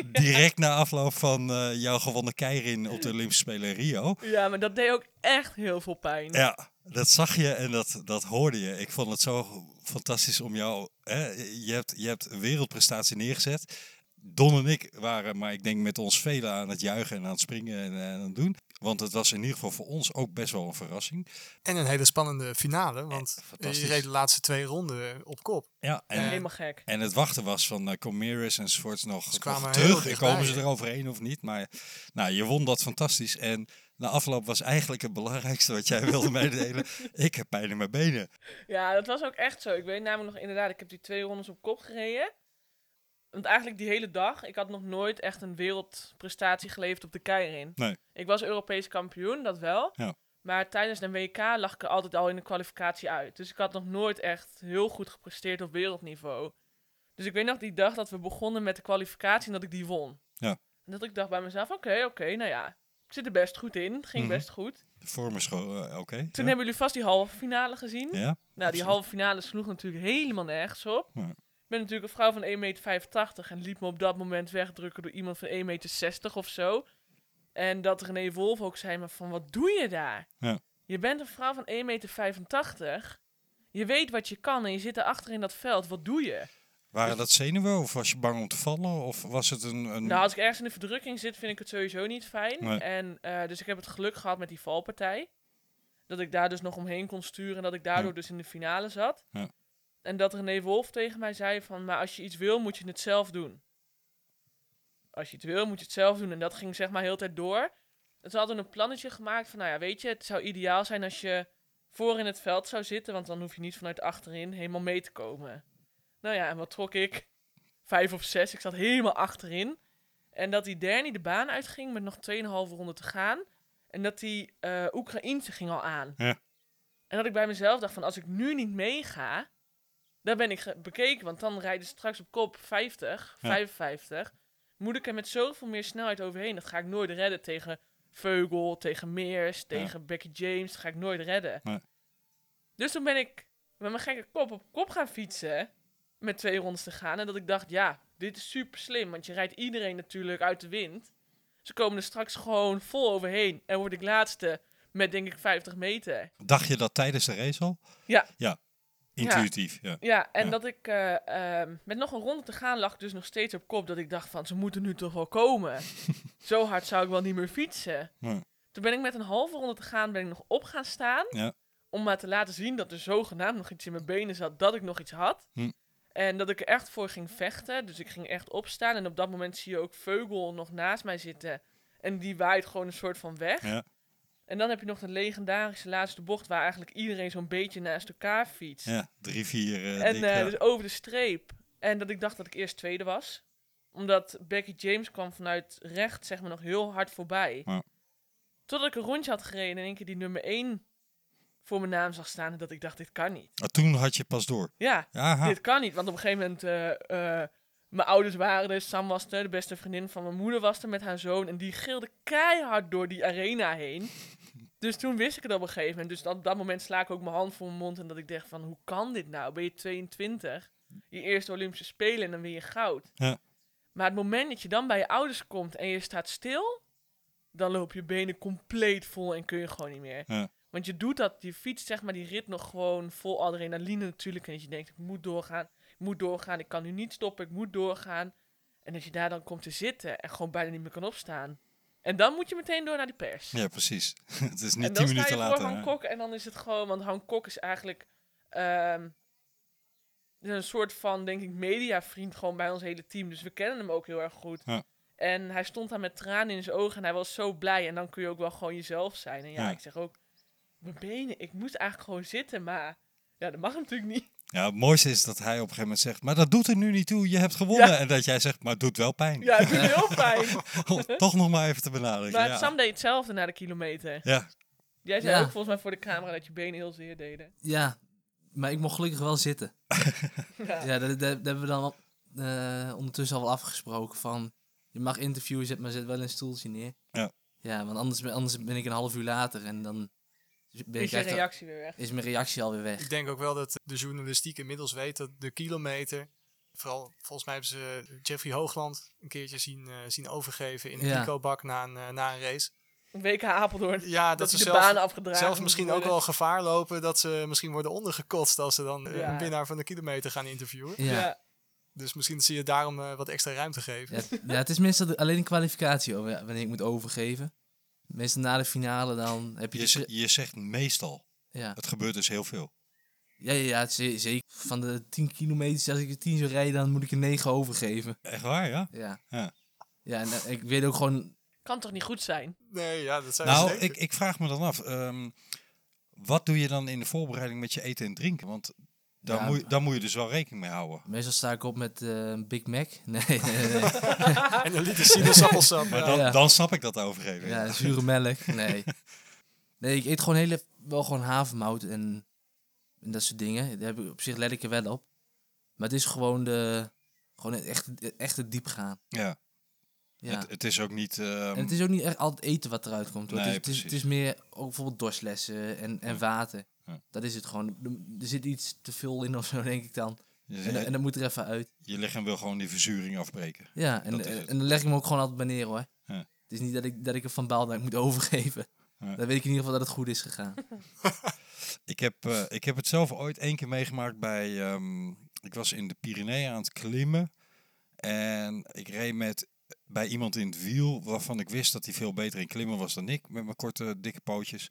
[SPEAKER 10] Direct na afloop van eh, jouw gewonnen keirin op de Olympische Spelen in Rio.
[SPEAKER 9] Ja, maar dat deed ook echt heel veel pijn.
[SPEAKER 10] Ja, dat zag je en dat, dat hoorde je. Ik vond het zo fantastisch om jou. Hè, je, hebt, je hebt een wereldprestatie neergezet. Don en ik waren, maar ik denk met ons velen aan het juichen en aan het springen en, eh, aan het doen. Want het was in ieder geval voor ons ook best wel een verrassing.
[SPEAKER 2] En een hele spannende finale, want
[SPEAKER 10] Eh, fantastisch.
[SPEAKER 2] je reed de laatste twee ronden eh, op kop.
[SPEAKER 10] Ja,
[SPEAKER 8] Eh,
[SPEAKER 10] en,
[SPEAKER 9] Helemaal gek.
[SPEAKER 10] en het wachten was van eh Comeris enzovoorts nog,
[SPEAKER 2] Ze
[SPEAKER 10] nog
[SPEAKER 2] kwamen heel
[SPEAKER 10] terug. En
[SPEAKER 2] dichtbij,
[SPEAKER 10] komen ze
[SPEAKER 2] hè?
[SPEAKER 10] eroverheen of niet? Maar nou, je won dat fantastisch. En na afloop was eigenlijk het belangrijkste wat jij wilde
[SPEAKER 2] <laughs>
[SPEAKER 10] meedelen. Ik heb pijn in mijn benen.
[SPEAKER 9] Ja, dat was ook echt zo. Ik weet namelijk nog inderdaad, ik heb die twee rondes op kop gereden. Want eigenlijk die hele dag, ik had nog nooit echt een wereldprestatie geleverd op de keirin.
[SPEAKER 10] Nee.
[SPEAKER 9] Ik was Europees kampioen, dat wel.
[SPEAKER 10] Ja.
[SPEAKER 9] Maar tijdens de WK lag ik er altijd al in de kwalificatie uit. Dus ik had nog nooit echt heel goed gepresteerd op wereldniveau. Dus ik weet nog die dag dat we begonnen met de kwalificatie en dat ik die won.
[SPEAKER 10] Ja.
[SPEAKER 9] En dat ik dacht bij mezelf, oké, oké, nou ja, ik zit er best goed in. Het ging
[SPEAKER 10] Mhm.
[SPEAKER 9] best goed.
[SPEAKER 10] De vorm is gewoon, eh, oké.
[SPEAKER 9] Toen
[SPEAKER 10] ja.
[SPEAKER 9] hebben jullie vast die halve finale gezien.
[SPEAKER 10] Ja,
[SPEAKER 9] Nou, die
[SPEAKER 10] Absoluut.
[SPEAKER 9] halve finale sloeg natuurlijk helemaal nergens op.
[SPEAKER 10] Nee.
[SPEAKER 9] Ik ben natuurlijk een vrouw van 1,85 meter en liet me op dat moment wegdrukken door iemand van 1,60 meter of zo. En dat René Wolf ook zei, maar van wat doe je daar?
[SPEAKER 10] Ja.
[SPEAKER 9] Je bent een vrouw van 1,85 meter. Je weet wat je kan en je zit daarachter in dat veld. Wat doe je?
[SPEAKER 10] Waren dat zenuwen of was je bang om te vallen? Of was het een... een...
[SPEAKER 9] Nou, als ik ergens in de verdrukking zit, vind ik het sowieso niet fijn.
[SPEAKER 10] Nee.
[SPEAKER 9] En, eh, dus ik heb het geluk gehad met die valpartij. Dat ik daar dus nog omheen kon sturen en dat ik daardoor
[SPEAKER 10] Ja.
[SPEAKER 9] dus in de finale zat.
[SPEAKER 10] Ja.
[SPEAKER 9] En dat René Wolf tegen mij zei van, maar als je iets wil, moet je het zelf doen. Als je het wil, moet je het zelf doen. En dat ging zeg maar heel de tijd door. En ze hadden een plannetje gemaakt van, nou ja, weet je, het zou ideaal zijn als je voor in het veld zou zitten, want dan hoef je niet vanuit achterin helemaal mee te komen. Nou ja, en wat trok ik? Vijf of zes, ik zat helemaal achterin. En dat die Derny de baan uitging met nog 2,5 ronden te gaan. En dat die eh Oekraïnse ging al aan.
[SPEAKER 10] Ja.
[SPEAKER 9] En dat ik bij mezelf dacht van, als ik nu niet meega, dan ben ik ge- bekeken. Want dan rijden ze straks op kop 50,
[SPEAKER 10] Ja.
[SPEAKER 9] 55. Moet ik er met zoveel meer snelheid overheen? Dat ga ik nooit redden tegen Veugel, tegen Meers, tegen Becky James. Dat ga ik nooit redden.
[SPEAKER 10] Nee.
[SPEAKER 9] Dus toen ben ik met mijn gekke kop op kop gaan fietsen. Met twee rondes te gaan. En dat ik dacht, ja, dit is super slim. Want je rijdt iedereen natuurlijk uit de wind. Ze komen er straks gewoon vol overheen. En word ik laatste met denk ik 50 meter.
[SPEAKER 10] Dacht je dat tijdens de race al?
[SPEAKER 9] Ja.
[SPEAKER 10] Ja, intuïtief. Ja.
[SPEAKER 9] Ja, en
[SPEAKER 10] Ja.
[SPEAKER 9] dat ik eh, ehm, met nog een ronde te gaan lag ik dus nog steeds op kop. Dat ik dacht van, ze moeten nu toch wel
[SPEAKER 10] <laughs>
[SPEAKER 9] komen. Zo hard zou ik wel niet meer fietsen.
[SPEAKER 10] Nee.
[SPEAKER 9] Toen ben ik met een halve ronde te gaan, ben ik nog op gaan staan.
[SPEAKER 10] Ja.
[SPEAKER 9] Om maar te laten zien dat er zogenaamd nog iets in mijn benen zat, dat ik nog iets had.
[SPEAKER 10] Hm.
[SPEAKER 9] En dat ik er echt voor ging vechten. Dus ik ging echt opstaan. En op dat moment zie je ook Veugel nog naast mij zitten. En die waait gewoon een soort van weg.
[SPEAKER 10] Ja.
[SPEAKER 9] En dan heb je nog de legendarische laatste bocht... waar eigenlijk iedereen zo'n beetje naast elkaar fietst.
[SPEAKER 10] Ja, drie, vier. eh,
[SPEAKER 9] En
[SPEAKER 10] dik,
[SPEAKER 9] eh,
[SPEAKER 10] ja.
[SPEAKER 9] dus over de streep. En dat ik dacht dat ik eerst tweede was. Omdat Becky James kwam vanuit rechts, zeg maar, nog heel hard voorbij.
[SPEAKER 10] Ja.
[SPEAKER 9] Totdat ik een rondje had gereden en één keer die nummer 1 voor mijn naam zag staan. En dat ik dacht, dit kan niet.
[SPEAKER 10] Maar toen had je pas door.
[SPEAKER 9] Ja,
[SPEAKER 10] Aha.
[SPEAKER 9] dit kan niet. Want op een gegeven moment, eh, eh, mijn ouders waren er, Sam was er, de beste vriendin van mijn moeder was er met haar zoon. En die gilde keihard door die arena heen.
[SPEAKER 10] <laughs>
[SPEAKER 9] Dus toen wist ik het op een gegeven moment. Dus dat- op dat moment sla ik ook mijn hand voor mijn mond. En dat ik dacht van, hoe kan dit nou? Ben je 22? Je eerste Olympische Spelen en dan win je goud.
[SPEAKER 10] Ja.
[SPEAKER 9] Maar het moment dat je dan bij je ouders komt en je staat stil... dan loop je benen compleet vol en kun je gewoon niet meer.
[SPEAKER 10] Ja.
[SPEAKER 9] Want je doet dat, je fietst zeg maar die rit nog gewoon vol adrenaline natuurlijk. En dat je denkt, ik moet doorgaan, ik moet doorgaan, ik kan nu niet stoppen, ik moet doorgaan. En dat je daar dan komt te zitten en gewoon bijna niet meer kan opstaan. En dan moet je meteen door naar die pers.
[SPEAKER 10] Ja, precies. <laughs> het is
[SPEAKER 9] en
[SPEAKER 10] niet
[SPEAKER 9] dan sta je
[SPEAKER 10] tien minuten
[SPEAKER 9] voor
[SPEAKER 10] later.
[SPEAKER 9] Han
[SPEAKER 10] hè?
[SPEAKER 9] Kok en dan is het gewoon, want Han Kok is eigenlijk ehm, een soort van, denk ik, mediavriend gewoon bij ons hele team. Dus we kennen hem ook heel erg goed.
[SPEAKER 10] Ja.
[SPEAKER 9] En hij stond daar met tranen in zijn ogen en hij was zo blij. En dan kun je ook wel gewoon jezelf zijn. En ja,
[SPEAKER 10] Ja.
[SPEAKER 9] ik zeg ook, mijn benen, ik moest eigenlijk gewoon zitten, maar ja, dat mag natuurlijk niet.
[SPEAKER 10] Ja, het mooiste is dat hij op een gegeven moment zegt, maar dat doet er nu niet toe, je hebt gewonnen.
[SPEAKER 9] Ja.
[SPEAKER 10] En dat jij zegt, maar het doet wel pijn.
[SPEAKER 9] Ja, het doet heel pijn.
[SPEAKER 10] <laughs> Om toch nog maar even te benadrukken.
[SPEAKER 9] Maar
[SPEAKER 10] ja.
[SPEAKER 9] Sam deed hetzelfde na de kilometer.
[SPEAKER 10] ja,
[SPEAKER 9] Jij zei
[SPEAKER 8] Ja.
[SPEAKER 9] ook volgens mij voor de camera dat je benen heel zeer deden.
[SPEAKER 8] Ja, maar ik mocht gelukkig wel
[SPEAKER 9] <laughs>
[SPEAKER 8] zitten. ja, dat, dat- dat hebben we dan al, eh, ondertussen al wel afgesproken van... Je mag interviewen, zet, maar zet wel een stoeltje neer.
[SPEAKER 10] Ja.
[SPEAKER 8] Ja, want anders, ben- anders ben ik een half uur later en dan... Ben
[SPEAKER 9] Is
[SPEAKER 8] ik
[SPEAKER 9] je
[SPEAKER 8] echt al-
[SPEAKER 9] reactie weer weg.
[SPEAKER 8] is mijn reactie alweer weg.
[SPEAKER 2] Ik denk ook wel dat de journalistiek inmiddels weet dat de kilometer. Vooral volgens mij hebben ze eh, Jeffrey Hoogland een keertje zien, eh, zien overgeven in een
[SPEAKER 8] Ja.
[SPEAKER 2] picobak na een, eh, na een race.
[SPEAKER 9] Een WK Apeldoorn.
[SPEAKER 2] Ja, dat,
[SPEAKER 9] dat
[SPEAKER 2] ze
[SPEAKER 9] hij de
[SPEAKER 2] zelf,
[SPEAKER 9] baan afgedragen
[SPEAKER 2] zelf
[SPEAKER 9] moet
[SPEAKER 2] misschien ook
[SPEAKER 9] worden.
[SPEAKER 2] wel gevaar lopen dat ze misschien worden ondergekotst als ze dan eh,
[SPEAKER 9] Ja.
[SPEAKER 2] een winnaar van de kilometer gaan interviewen.
[SPEAKER 8] Ja. Ja.
[SPEAKER 2] Dus misschien zie je daarom eh, wat extra ruimte geven.
[SPEAKER 8] Ja, het is meestal de- alleen een kwalificatie over- wanneer ik moet overgeven. Meestal na de finale dan heb je...
[SPEAKER 10] je,
[SPEAKER 8] de
[SPEAKER 10] z-
[SPEAKER 8] pre-
[SPEAKER 10] je zegt meestal.
[SPEAKER 8] ja.
[SPEAKER 10] Het gebeurt dus heel veel.
[SPEAKER 8] Ja, ja, ja, ze- zeker. Van de 10 kilometer, als ik er 10 zou rijden, dan moet ik er 9 overgeven.
[SPEAKER 10] Echt waar, ja?
[SPEAKER 8] Ja.
[SPEAKER 10] Ja.
[SPEAKER 8] Ja, en eh, ik weet ook gewoon...
[SPEAKER 9] Kan toch niet goed zijn?
[SPEAKER 2] Nee, ja, dat zijn
[SPEAKER 10] Nou,
[SPEAKER 2] ze
[SPEAKER 10] ik,
[SPEAKER 2] Eh, zeker.
[SPEAKER 10] ik vraag me dan af, ehm, wat doe je dan in de voorbereiding met je eten en drinken? Want daar,
[SPEAKER 8] Ja.
[SPEAKER 10] moet, je- daar moet je dus wel rekening mee houden.
[SPEAKER 8] Meestal sta ik op met eh, een Big Mac. <laughs> Nee, nee, nee.
[SPEAKER 10] <laughs>
[SPEAKER 2] En een liter sinaasappelsap. eh,
[SPEAKER 10] Maar
[SPEAKER 2] ja.
[SPEAKER 10] dan,
[SPEAKER 8] Ja.
[SPEAKER 10] dan snap ik dat overgeven.
[SPEAKER 8] ja, zure melk. Nee. Nee, ik eet gewoon hele, wel gewoon havermout en, en dat soort dingen. Daar heb ik op zich let ik er wel op. Maar het is gewoon de... Gewoon het echte, het echte diep gaan.
[SPEAKER 10] Ja.
[SPEAKER 8] Ja.
[SPEAKER 10] Het, het is ook niet... ehm,
[SPEAKER 8] en het is ook niet echt altijd eten wat eruit komt. Hoor.
[SPEAKER 10] Nee,
[SPEAKER 8] het, is, het, is, het
[SPEAKER 10] precies.
[SPEAKER 8] is meer ook bijvoorbeeld dorstlessen en, en water.
[SPEAKER 10] Ja.
[SPEAKER 8] Dat is het gewoon. Er- Er zit iets te veel in of zo, denk ik dan.
[SPEAKER 10] je,
[SPEAKER 8] En, en dat moet er even uit.
[SPEAKER 10] je lichaam wil gewoon die verzuring afbreken.
[SPEAKER 8] Ja, en,
[SPEAKER 10] Dat is het.
[SPEAKER 8] en dan leg ik me ook gewoon altijd bij neer hoor.
[SPEAKER 10] Ja.
[SPEAKER 8] Het is niet dat ik, dat ik er van baal dat ik moet <laughs> overgeven.
[SPEAKER 10] Ja.
[SPEAKER 8] Dan weet ik in ieder geval dat het goed is gegaan.
[SPEAKER 10] Ik heb, eh, ik heb het zelf ooit één keer meegemaakt bij... ehm, ik was in de Pyreneeën aan het klimmen. En ik reed met, bij iemand in het wiel waarvan ik wist dat hij veel beter in klimmen was dan ik. Met mijn korte, dikke pootjes.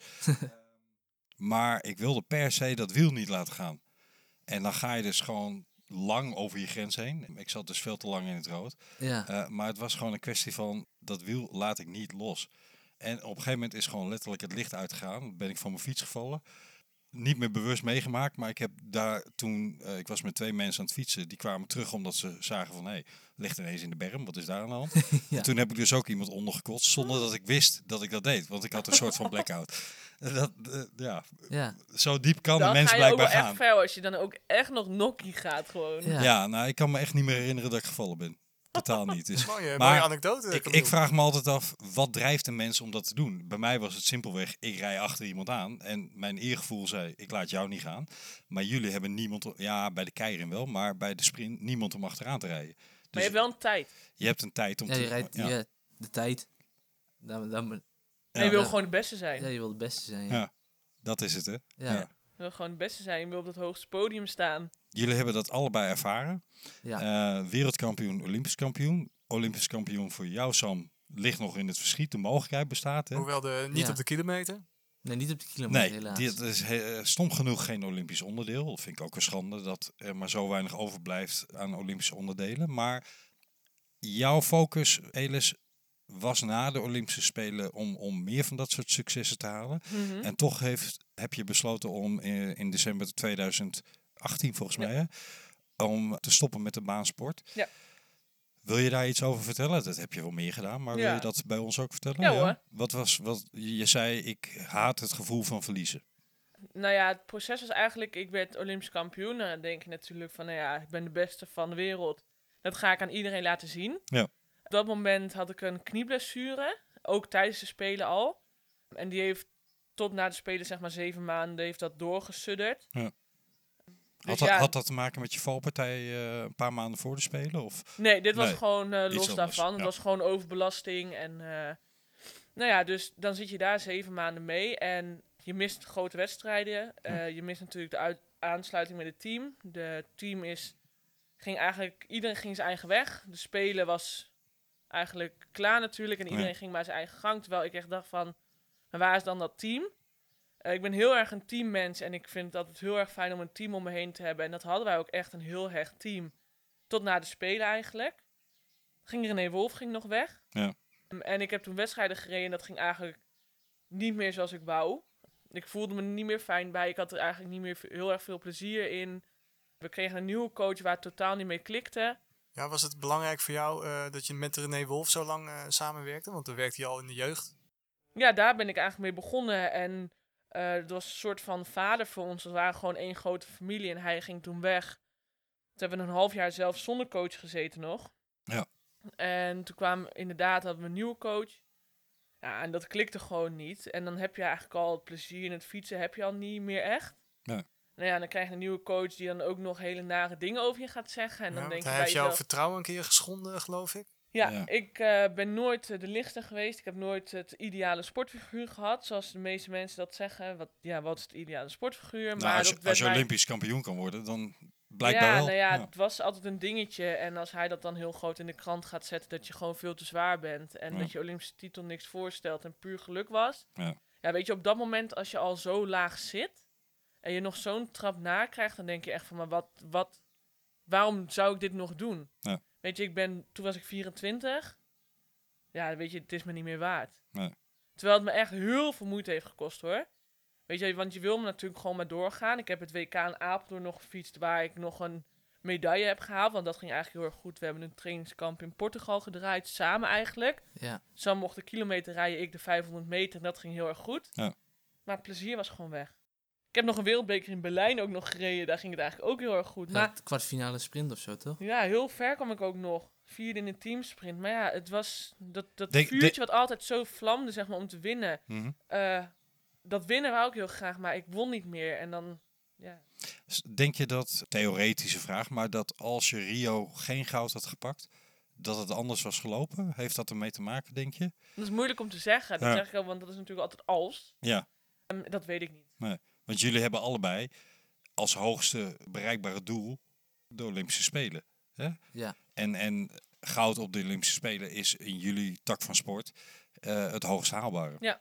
[SPEAKER 10] maar ik wilde per se dat wiel niet laten gaan. En dan ga je dus gewoon lang over je grens heen. Ik zat dus veel te lang in het rood.
[SPEAKER 8] ja.
[SPEAKER 10] Eh, maar het was gewoon een kwestie van dat wiel laat ik niet los. En op een gegeven moment is gewoon letterlijk het licht uitgegaan. Ben ik van mijn fiets gevallen. Niet meer bewust meegemaakt, maar ik heb daar toen, eh, ik was met twee mensen aan het fietsen, die kwamen terug omdat ze zagen van hé, hey, ligt ineens in de berm, wat is daar aan de
[SPEAKER 8] <laughs>
[SPEAKER 10] hand?
[SPEAKER 8] Ja.
[SPEAKER 10] En toen heb ik dus ook iemand ondergekotst zonder dat ik wist dat ik dat deed, want ik had een soort van blackout. <laughs> En Dat, eh, ja,
[SPEAKER 8] ja.
[SPEAKER 10] zo diep kan de
[SPEAKER 9] Dan
[SPEAKER 10] mens
[SPEAKER 9] ga je ook wel
[SPEAKER 10] blijkbaar
[SPEAKER 9] echt
[SPEAKER 10] gaan.
[SPEAKER 9] ver als je dan ook echt nog nokkie gaat gewoon.
[SPEAKER 8] Ja.
[SPEAKER 10] Ja, nou, ik kan me echt niet meer herinneren dat ik gevallen ben. Totaal niet. Dus
[SPEAKER 2] Mooie,
[SPEAKER 10] Maar
[SPEAKER 2] mooie anekdote.
[SPEAKER 10] Ik,
[SPEAKER 2] Camille.
[SPEAKER 10] ik vraag me altijd af, wat drijft een mens om dat te doen? Bij mij was het simpelweg, ik rij achter iemand aan en mijn eergevoel zei, ik laat jou niet gaan. Maar jullie hebben niemand, om- ja, bij de keirin wel, maar bij de sprint niemand om achteraan te rijden.
[SPEAKER 9] Maar
[SPEAKER 10] Dus
[SPEAKER 9] je hebt wel een tijd.
[SPEAKER 10] je hebt een tijd om
[SPEAKER 8] ja,
[SPEAKER 10] te...
[SPEAKER 8] je rijdt
[SPEAKER 10] ja.
[SPEAKER 8] ja, de tijd. Dan, dan,
[SPEAKER 9] En je wil
[SPEAKER 8] Ja.
[SPEAKER 9] gewoon de beste zijn.
[SPEAKER 8] ja, je wil de beste zijn.
[SPEAKER 10] Ja.
[SPEAKER 8] Ja.
[SPEAKER 10] Dat is het, hè?
[SPEAKER 8] Ja.
[SPEAKER 10] Ja.
[SPEAKER 9] Je wil gewoon de beste zijn. Je wil op dat hoogste podium staan.
[SPEAKER 10] Jullie hebben dat allebei ervaren.
[SPEAKER 8] Ja.
[SPEAKER 10] Eh, wereldkampioen, olympisch kampioen. Olympisch kampioen voor jou, Sam, ligt nog in het verschiet. De mogelijkheid bestaat, hè?
[SPEAKER 2] Hoewel de, niet
[SPEAKER 8] Ja.
[SPEAKER 2] op de kilometer.
[SPEAKER 8] Nee, niet op de kilometer
[SPEAKER 10] Nee,
[SPEAKER 8] helaas.
[SPEAKER 10] dit is he- eh, stom genoeg geen Olympisch onderdeel. Dat vind ik ook een schande dat er maar zo weinig overblijft aan Olympische onderdelen. Maar jouw focus, Elis, was na de Olympische Spelen om, om meer van dat soort successen te halen. En toch heeft, heb je besloten om in, in december 2018, volgens mij, hè, om te stoppen met de baansport.
[SPEAKER 9] Ja.
[SPEAKER 10] Wil je daar iets over vertellen? Dat heb je wel meer gedaan, maar wil
[SPEAKER 9] Ja.
[SPEAKER 10] je dat bij ons ook vertellen?
[SPEAKER 9] Ja, hoor.
[SPEAKER 10] Wat was, wat, je zei, ik haat het gevoel van verliezen.
[SPEAKER 9] Nou ja, het proces was eigenlijk, ik werd Olympisch kampioen. Nou, dan denk je natuurlijk van, nou ja, ik ben de beste van de wereld. Dat ga ik aan iedereen laten zien.
[SPEAKER 10] Ja.
[SPEAKER 9] Op dat moment had ik een knieblessure, ook tijdens de Spelen al. En die heeft tot na de Spelen, zeg maar zeven maanden, heeft dat doorgesudderd.
[SPEAKER 10] Ja.
[SPEAKER 9] Dus
[SPEAKER 10] had, dat,
[SPEAKER 9] ja,
[SPEAKER 10] had dat te maken met je valpartij eh, een paar maanden voor de Spelen? Of?
[SPEAKER 9] Nee, dit was
[SPEAKER 10] Nee,
[SPEAKER 9] gewoon eh,
[SPEAKER 10] iets
[SPEAKER 9] los
[SPEAKER 10] anders,
[SPEAKER 9] daarvan. Het
[SPEAKER 10] ja.
[SPEAKER 9] was gewoon overbelasting. En eh, nou ja, dus dan zit je daar zeven maanden mee. En je mist grote wedstrijden. Eh, je mist natuurlijk de uit- aansluiting met het team. De team is, ging eigenlijk, iedereen ging zijn eigen weg. De spelen was eigenlijk klaar natuurlijk. En
[SPEAKER 10] Ja.
[SPEAKER 9] iedereen ging maar zijn eigen gang. Terwijl ik echt dacht van, maar waar is dan dat team? Eh, ik ben heel erg een teammens en ik vind het altijd heel erg fijn om een team om me heen te hebben. En dat hadden wij ook echt een heel hecht team. Tot na de Spelen eigenlijk. Ging René Wolf ging nog weg.
[SPEAKER 10] Ja.
[SPEAKER 9] Mm, En ik heb toen wedstrijden gereden en dat ging eigenlijk niet meer zoals ik wou. Ik voelde me er niet meer fijn bij. Ik had er eigenlijk niet meer ve- heel erg veel plezier in. We kregen een nieuwe coach waar het totaal niet mee klikte.
[SPEAKER 2] Ja, was het belangrijk voor jou eh, dat je met René Wolf zo lang eh, samenwerkte? Want dan werkte hij al in de jeugd.
[SPEAKER 9] ja, daar ben ik eigenlijk mee begonnen. En eh het was een soort van vader voor ons. We waren gewoon één grote familie en hij ging toen weg. Toen hebben we een half jaar zelf zonder coach gezeten nog.
[SPEAKER 10] Ja.
[SPEAKER 9] En toen kwam inderdaad, hadden we een nieuwe coach. Ja, en dat klikte gewoon niet. En dan heb je eigenlijk al het plezier in het fietsen heb je al niet meer echt.
[SPEAKER 10] Nee.
[SPEAKER 9] Nou ja, dan krijg je een nieuwe coach die dan ook nog hele nare dingen over je gaat zeggen. En
[SPEAKER 2] Ja,
[SPEAKER 9] dan
[SPEAKER 2] want
[SPEAKER 9] denk je
[SPEAKER 2] hij
[SPEAKER 9] bij
[SPEAKER 2] heeft jouw
[SPEAKER 9] jezelf...
[SPEAKER 2] vertrouwen een keer geschonden, geloof ik.
[SPEAKER 9] Ja,
[SPEAKER 10] Ja.
[SPEAKER 9] ik eh, ben nooit eh, de lichter geweest. Ik heb nooit het ideale sportfiguur gehad, zoals de meeste mensen dat zeggen. Wat, ja, wat is het ideale sportfiguur?
[SPEAKER 10] nou,
[SPEAKER 9] dat
[SPEAKER 10] als, je,
[SPEAKER 9] werd
[SPEAKER 10] als je
[SPEAKER 9] mij-
[SPEAKER 10] Olympisch kampioen kan worden, dan blijkbaar
[SPEAKER 9] ja,
[SPEAKER 10] wel.
[SPEAKER 9] Nou ja,
[SPEAKER 10] Ja.
[SPEAKER 9] het was altijd een dingetje. En als hij dat dan heel groot in de krant gaat zetten, dat je gewoon veel te zwaar bent. En
[SPEAKER 10] Ja.
[SPEAKER 9] dat je Olympische titel niks voorstelt en puur geluk was.
[SPEAKER 10] Ja.
[SPEAKER 9] ja, weet je, op dat moment als je al zo laag zit en je nog zo'n trap nakrijgt, dan denk je echt van, maar wat, wat, waarom zou ik dit nog doen?
[SPEAKER 10] Ja.
[SPEAKER 9] Weet je, ik ben, toen was ik 24. Ja, weet je, het is me niet meer waard.
[SPEAKER 10] Nee.
[SPEAKER 9] Terwijl het me echt heel veel moeite heeft gekost hoor. Weet je, want je wil me natuurlijk gewoon maar doorgaan. Ik heb het WK in Apeldoorn nog gefietst waar ik nog een medaille heb gehaald. Want dat ging eigenlijk heel erg goed. We hebben een trainingskamp in Portugal gedraaid, samen eigenlijk.
[SPEAKER 8] Ja,
[SPEAKER 9] Sam mocht de kilometer rijden, ik de 500 meter. En dat ging heel erg goed.
[SPEAKER 10] Ja.
[SPEAKER 9] Maar het plezier was gewoon weg. Ik heb nog een wereldbeker in Berlijn ook nog gereden. Daar ging het eigenlijk ook heel erg goed. Maar
[SPEAKER 8] het kwartfinale sprint of zo, toch?
[SPEAKER 9] ja, heel ver kwam ik ook nog. Vierde in een teamsprint. Maar ja, het was dat, dat
[SPEAKER 10] Denk-
[SPEAKER 9] vuurtje
[SPEAKER 10] denk-
[SPEAKER 9] wat altijd zo vlamde, zeg maar, om te winnen.
[SPEAKER 10] Mhm.
[SPEAKER 9] Eh, dat winnen wou ik heel graag, maar ik won niet meer. En dan, ja.
[SPEAKER 10] S- Denk je dat, theoretische vraag, maar dat als je Rio geen goud had gepakt, dat het anders was gelopen? Heeft dat ermee te maken, denk je?
[SPEAKER 9] Dat is moeilijk om te zeggen. Dat
[SPEAKER 10] Ja.
[SPEAKER 9] zeg ik al, want dat is natuurlijk altijd als.
[SPEAKER 10] Ja,
[SPEAKER 9] Ehm, dat weet ik niet.
[SPEAKER 10] want jullie hebben allebei als hoogste bereikbare doel de Olympische Spelen. Hè?
[SPEAKER 8] Ja.
[SPEAKER 10] En, en goud op de Olympische Spelen is in jullie tak van sport eh, het hoogst haalbare.
[SPEAKER 9] Nou,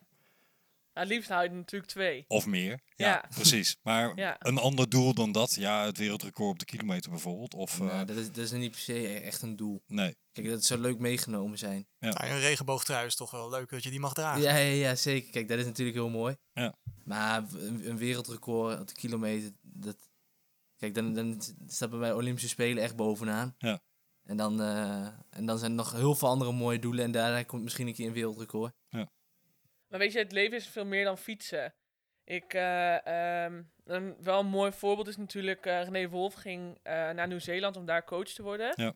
[SPEAKER 9] het liefst hou je er natuurlijk twee.
[SPEAKER 10] Of meer. Ja,
[SPEAKER 9] Ja.
[SPEAKER 10] precies. Maar
[SPEAKER 9] Ja.
[SPEAKER 10] een ander doel dan dat, ja, het wereldrecord op de kilometer bijvoorbeeld. Of eh,
[SPEAKER 8] Nou, dat, is, dat is niet per se e- echt een doel.
[SPEAKER 10] nee.
[SPEAKER 8] Kijk, dat zou leuk meegenomen zijn.
[SPEAKER 10] Ja.
[SPEAKER 2] Nou, een regenboogtrui is toch wel leuk dat je die mag dragen.
[SPEAKER 8] Ja, ja, ja, zeker. Kijk, dat is natuurlijk heel mooi.
[SPEAKER 10] Ah. Ja.
[SPEAKER 8] Maar w- een, een wereldrecord op de kilometer, dat... Kijk, dan, dan staat bij mij Olympische Spelen echt bovenaan.
[SPEAKER 10] Ja.
[SPEAKER 8] En dan, eh, en dan zijn er nog heel veel andere mooie doelen. En daarna komt misschien een keer een wereldrecord.
[SPEAKER 9] Maar weet je, het leven is veel meer dan fietsen. Ik, eh, ehm, een, wel een mooi voorbeeld is natuurlijk... eh René Wolf ging eh, naar Nieuw-Zeeland om daar coach te worden.
[SPEAKER 10] Ja.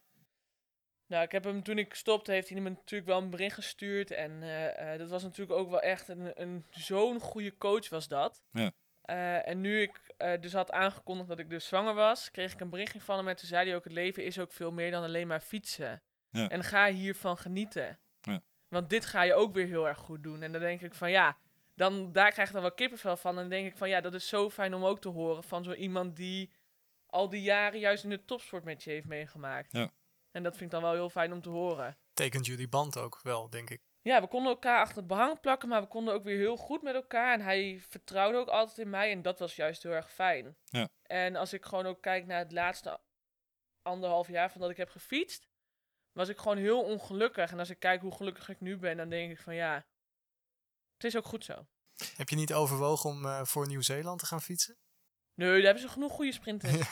[SPEAKER 9] Nou, ik heb hem toen ik stopte, heeft hij me natuurlijk wel een bericht gestuurd. En eh, eh, dat was natuurlijk ook wel echt een, een, zo'n goede coach was dat.
[SPEAKER 10] Ja.
[SPEAKER 9] Eh, en nu ik eh, dus had aangekondigd dat ik dus zwanger was, kreeg ik een berichtje van hem. En toen zei hij ook, het leven is ook veel meer dan alleen maar fietsen.
[SPEAKER 10] Ja.
[SPEAKER 9] En ga hiervan genieten.
[SPEAKER 10] Ja.
[SPEAKER 9] Want dit ga je ook weer heel erg goed doen. En dan denk ik van ja, dan, daar krijg ik dan wel kippenvel van. En dan denk ik van ja, dat is zo fijn om ook te horen van zo iemand die al die jaren juist in de topsport met je heeft meegemaakt.
[SPEAKER 10] Ja.
[SPEAKER 9] En dat vind ik dan wel heel fijn om te horen.
[SPEAKER 2] Tekent jullie band ook wel, denk ik.
[SPEAKER 9] Ja, we konden elkaar achter het behang plakken, maar we konden ook weer heel goed met elkaar. En hij vertrouwde ook altijd in mij en dat was juist heel erg fijn.
[SPEAKER 10] Ja.
[SPEAKER 9] En als ik gewoon ook kijk naar het laatste anderhalf jaar van dat ik heb gefietst, was ik gewoon heel ongelukkig. En als ik kijk hoe gelukkig ik nu ben, dan denk ik van ja, het is ook goed zo.
[SPEAKER 2] Heb je niet overwogen om eh, voor Nieuw-Zeeland te gaan fietsen?
[SPEAKER 9] Nee, daar hebben ze genoeg goede sprinters.
[SPEAKER 2] <laughs>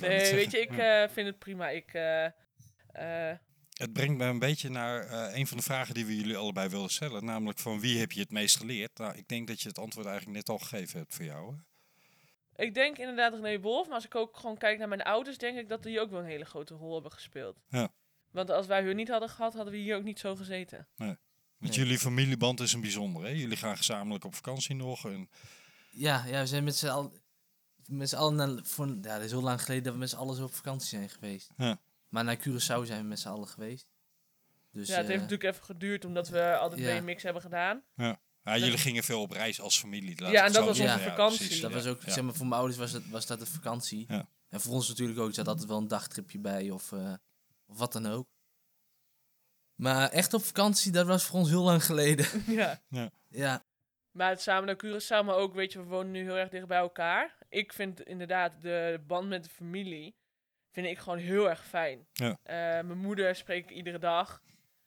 [SPEAKER 2] Ja.
[SPEAKER 9] Nee,
[SPEAKER 10] zeggen,
[SPEAKER 9] weet je, ik eh, vind het prima. Ik, eh, eh,
[SPEAKER 10] Het brengt me een beetje naar eh, een van de vragen die we jullie allebei wilden stellen. Namelijk van wie heb je het meest geleerd? Nou, ik denk dat je het antwoord eigenlijk net al gegeven hebt voor jou. hè?
[SPEAKER 9] ik denk inderdaad René Wolf, maar als ik ook gewoon kijk naar mijn ouders, denk ik dat die ook wel een hele grote rol hebben gespeeld.
[SPEAKER 10] Ja.
[SPEAKER 9] Want als wij hun niet hadden gehad, hadden we hier ook niet zo gezeten.
[SPEAKER 10] Want
[SPEAKER 8] Nee.
[SPEAKER 10] jullie familieband is een bijzonder. Hè? Jullie gaan gezamenlijk op vakantie nog. En,
[SPEAKER 8] Ja, ja we zijn met z'n allen... Met z'n allen naar, voor, ja, dat is heel lang geleden dat we met z'n allen zo op vakantie zijn geweest.
[SPEAKER 10] Ja.
[SPEAKER 8] Maar naar Curaçao zijn we met z'n allen geweest. Dus,
[SPEAKER 9] ja, het heeft
[SPEAKER 8] eh,
[SPEAKER 9] natuurlijk even geduurd, omdat we altijd
[SPEAKER 8] ja.
[SPEAKER 9] BMX hebben
[SPEAKER 8] <laughs>
[SPEAKER 9] gedaan.
[SPEAKER 10] Ja, jullie gingen veel op reis als familie. laat
[SPEAKER 9] Ja,
[SPEAKER 10] ik
[SPEAKER 9] en
[SPEAKER 10] het
[SPEAKER 9] dat
[SPEAKER 10] zo
[SPEAKER 9] was
[SPEAKER 10] zeggen.
[SPEAKER 9] onze
[SPEAKER 10] Ja,
[SPEAKER 9] vakantie.
[SPEAKER 10] precies,
[SPEAKER 8] Dat
[SPEAKER 10] ja.
[SPEAKER 8] was ook,
[SPEAKER 10] Ja.
[SPEAKER 8] zeg maar, voor mijn ouders was dat, was dat de vakantie.
[SPEAKER 10] Ja.
[SPEAKER 8] En voor ons natuurlijk ook, er zat altijd wel een dagtripje bij of, eh, of wat dan ook. Maar echt op vakantie, dat was voor ons heel lang geleden. <laughs>
[SPEAKER 9] ja.
[SPEAKER 8] ja,
[SPEAKER 9] Maar het samen naar Curaçao, maar ook, weet je, we wonen nu heel erg dicht bij elkaar. Ik vind inderdaad de band met de familie, vind ik gewoon heel erg fijn.
[SPEAKER 10] Ja.
[SPEAKER 9] Eh, mijn moeder spreek ik iedere dag.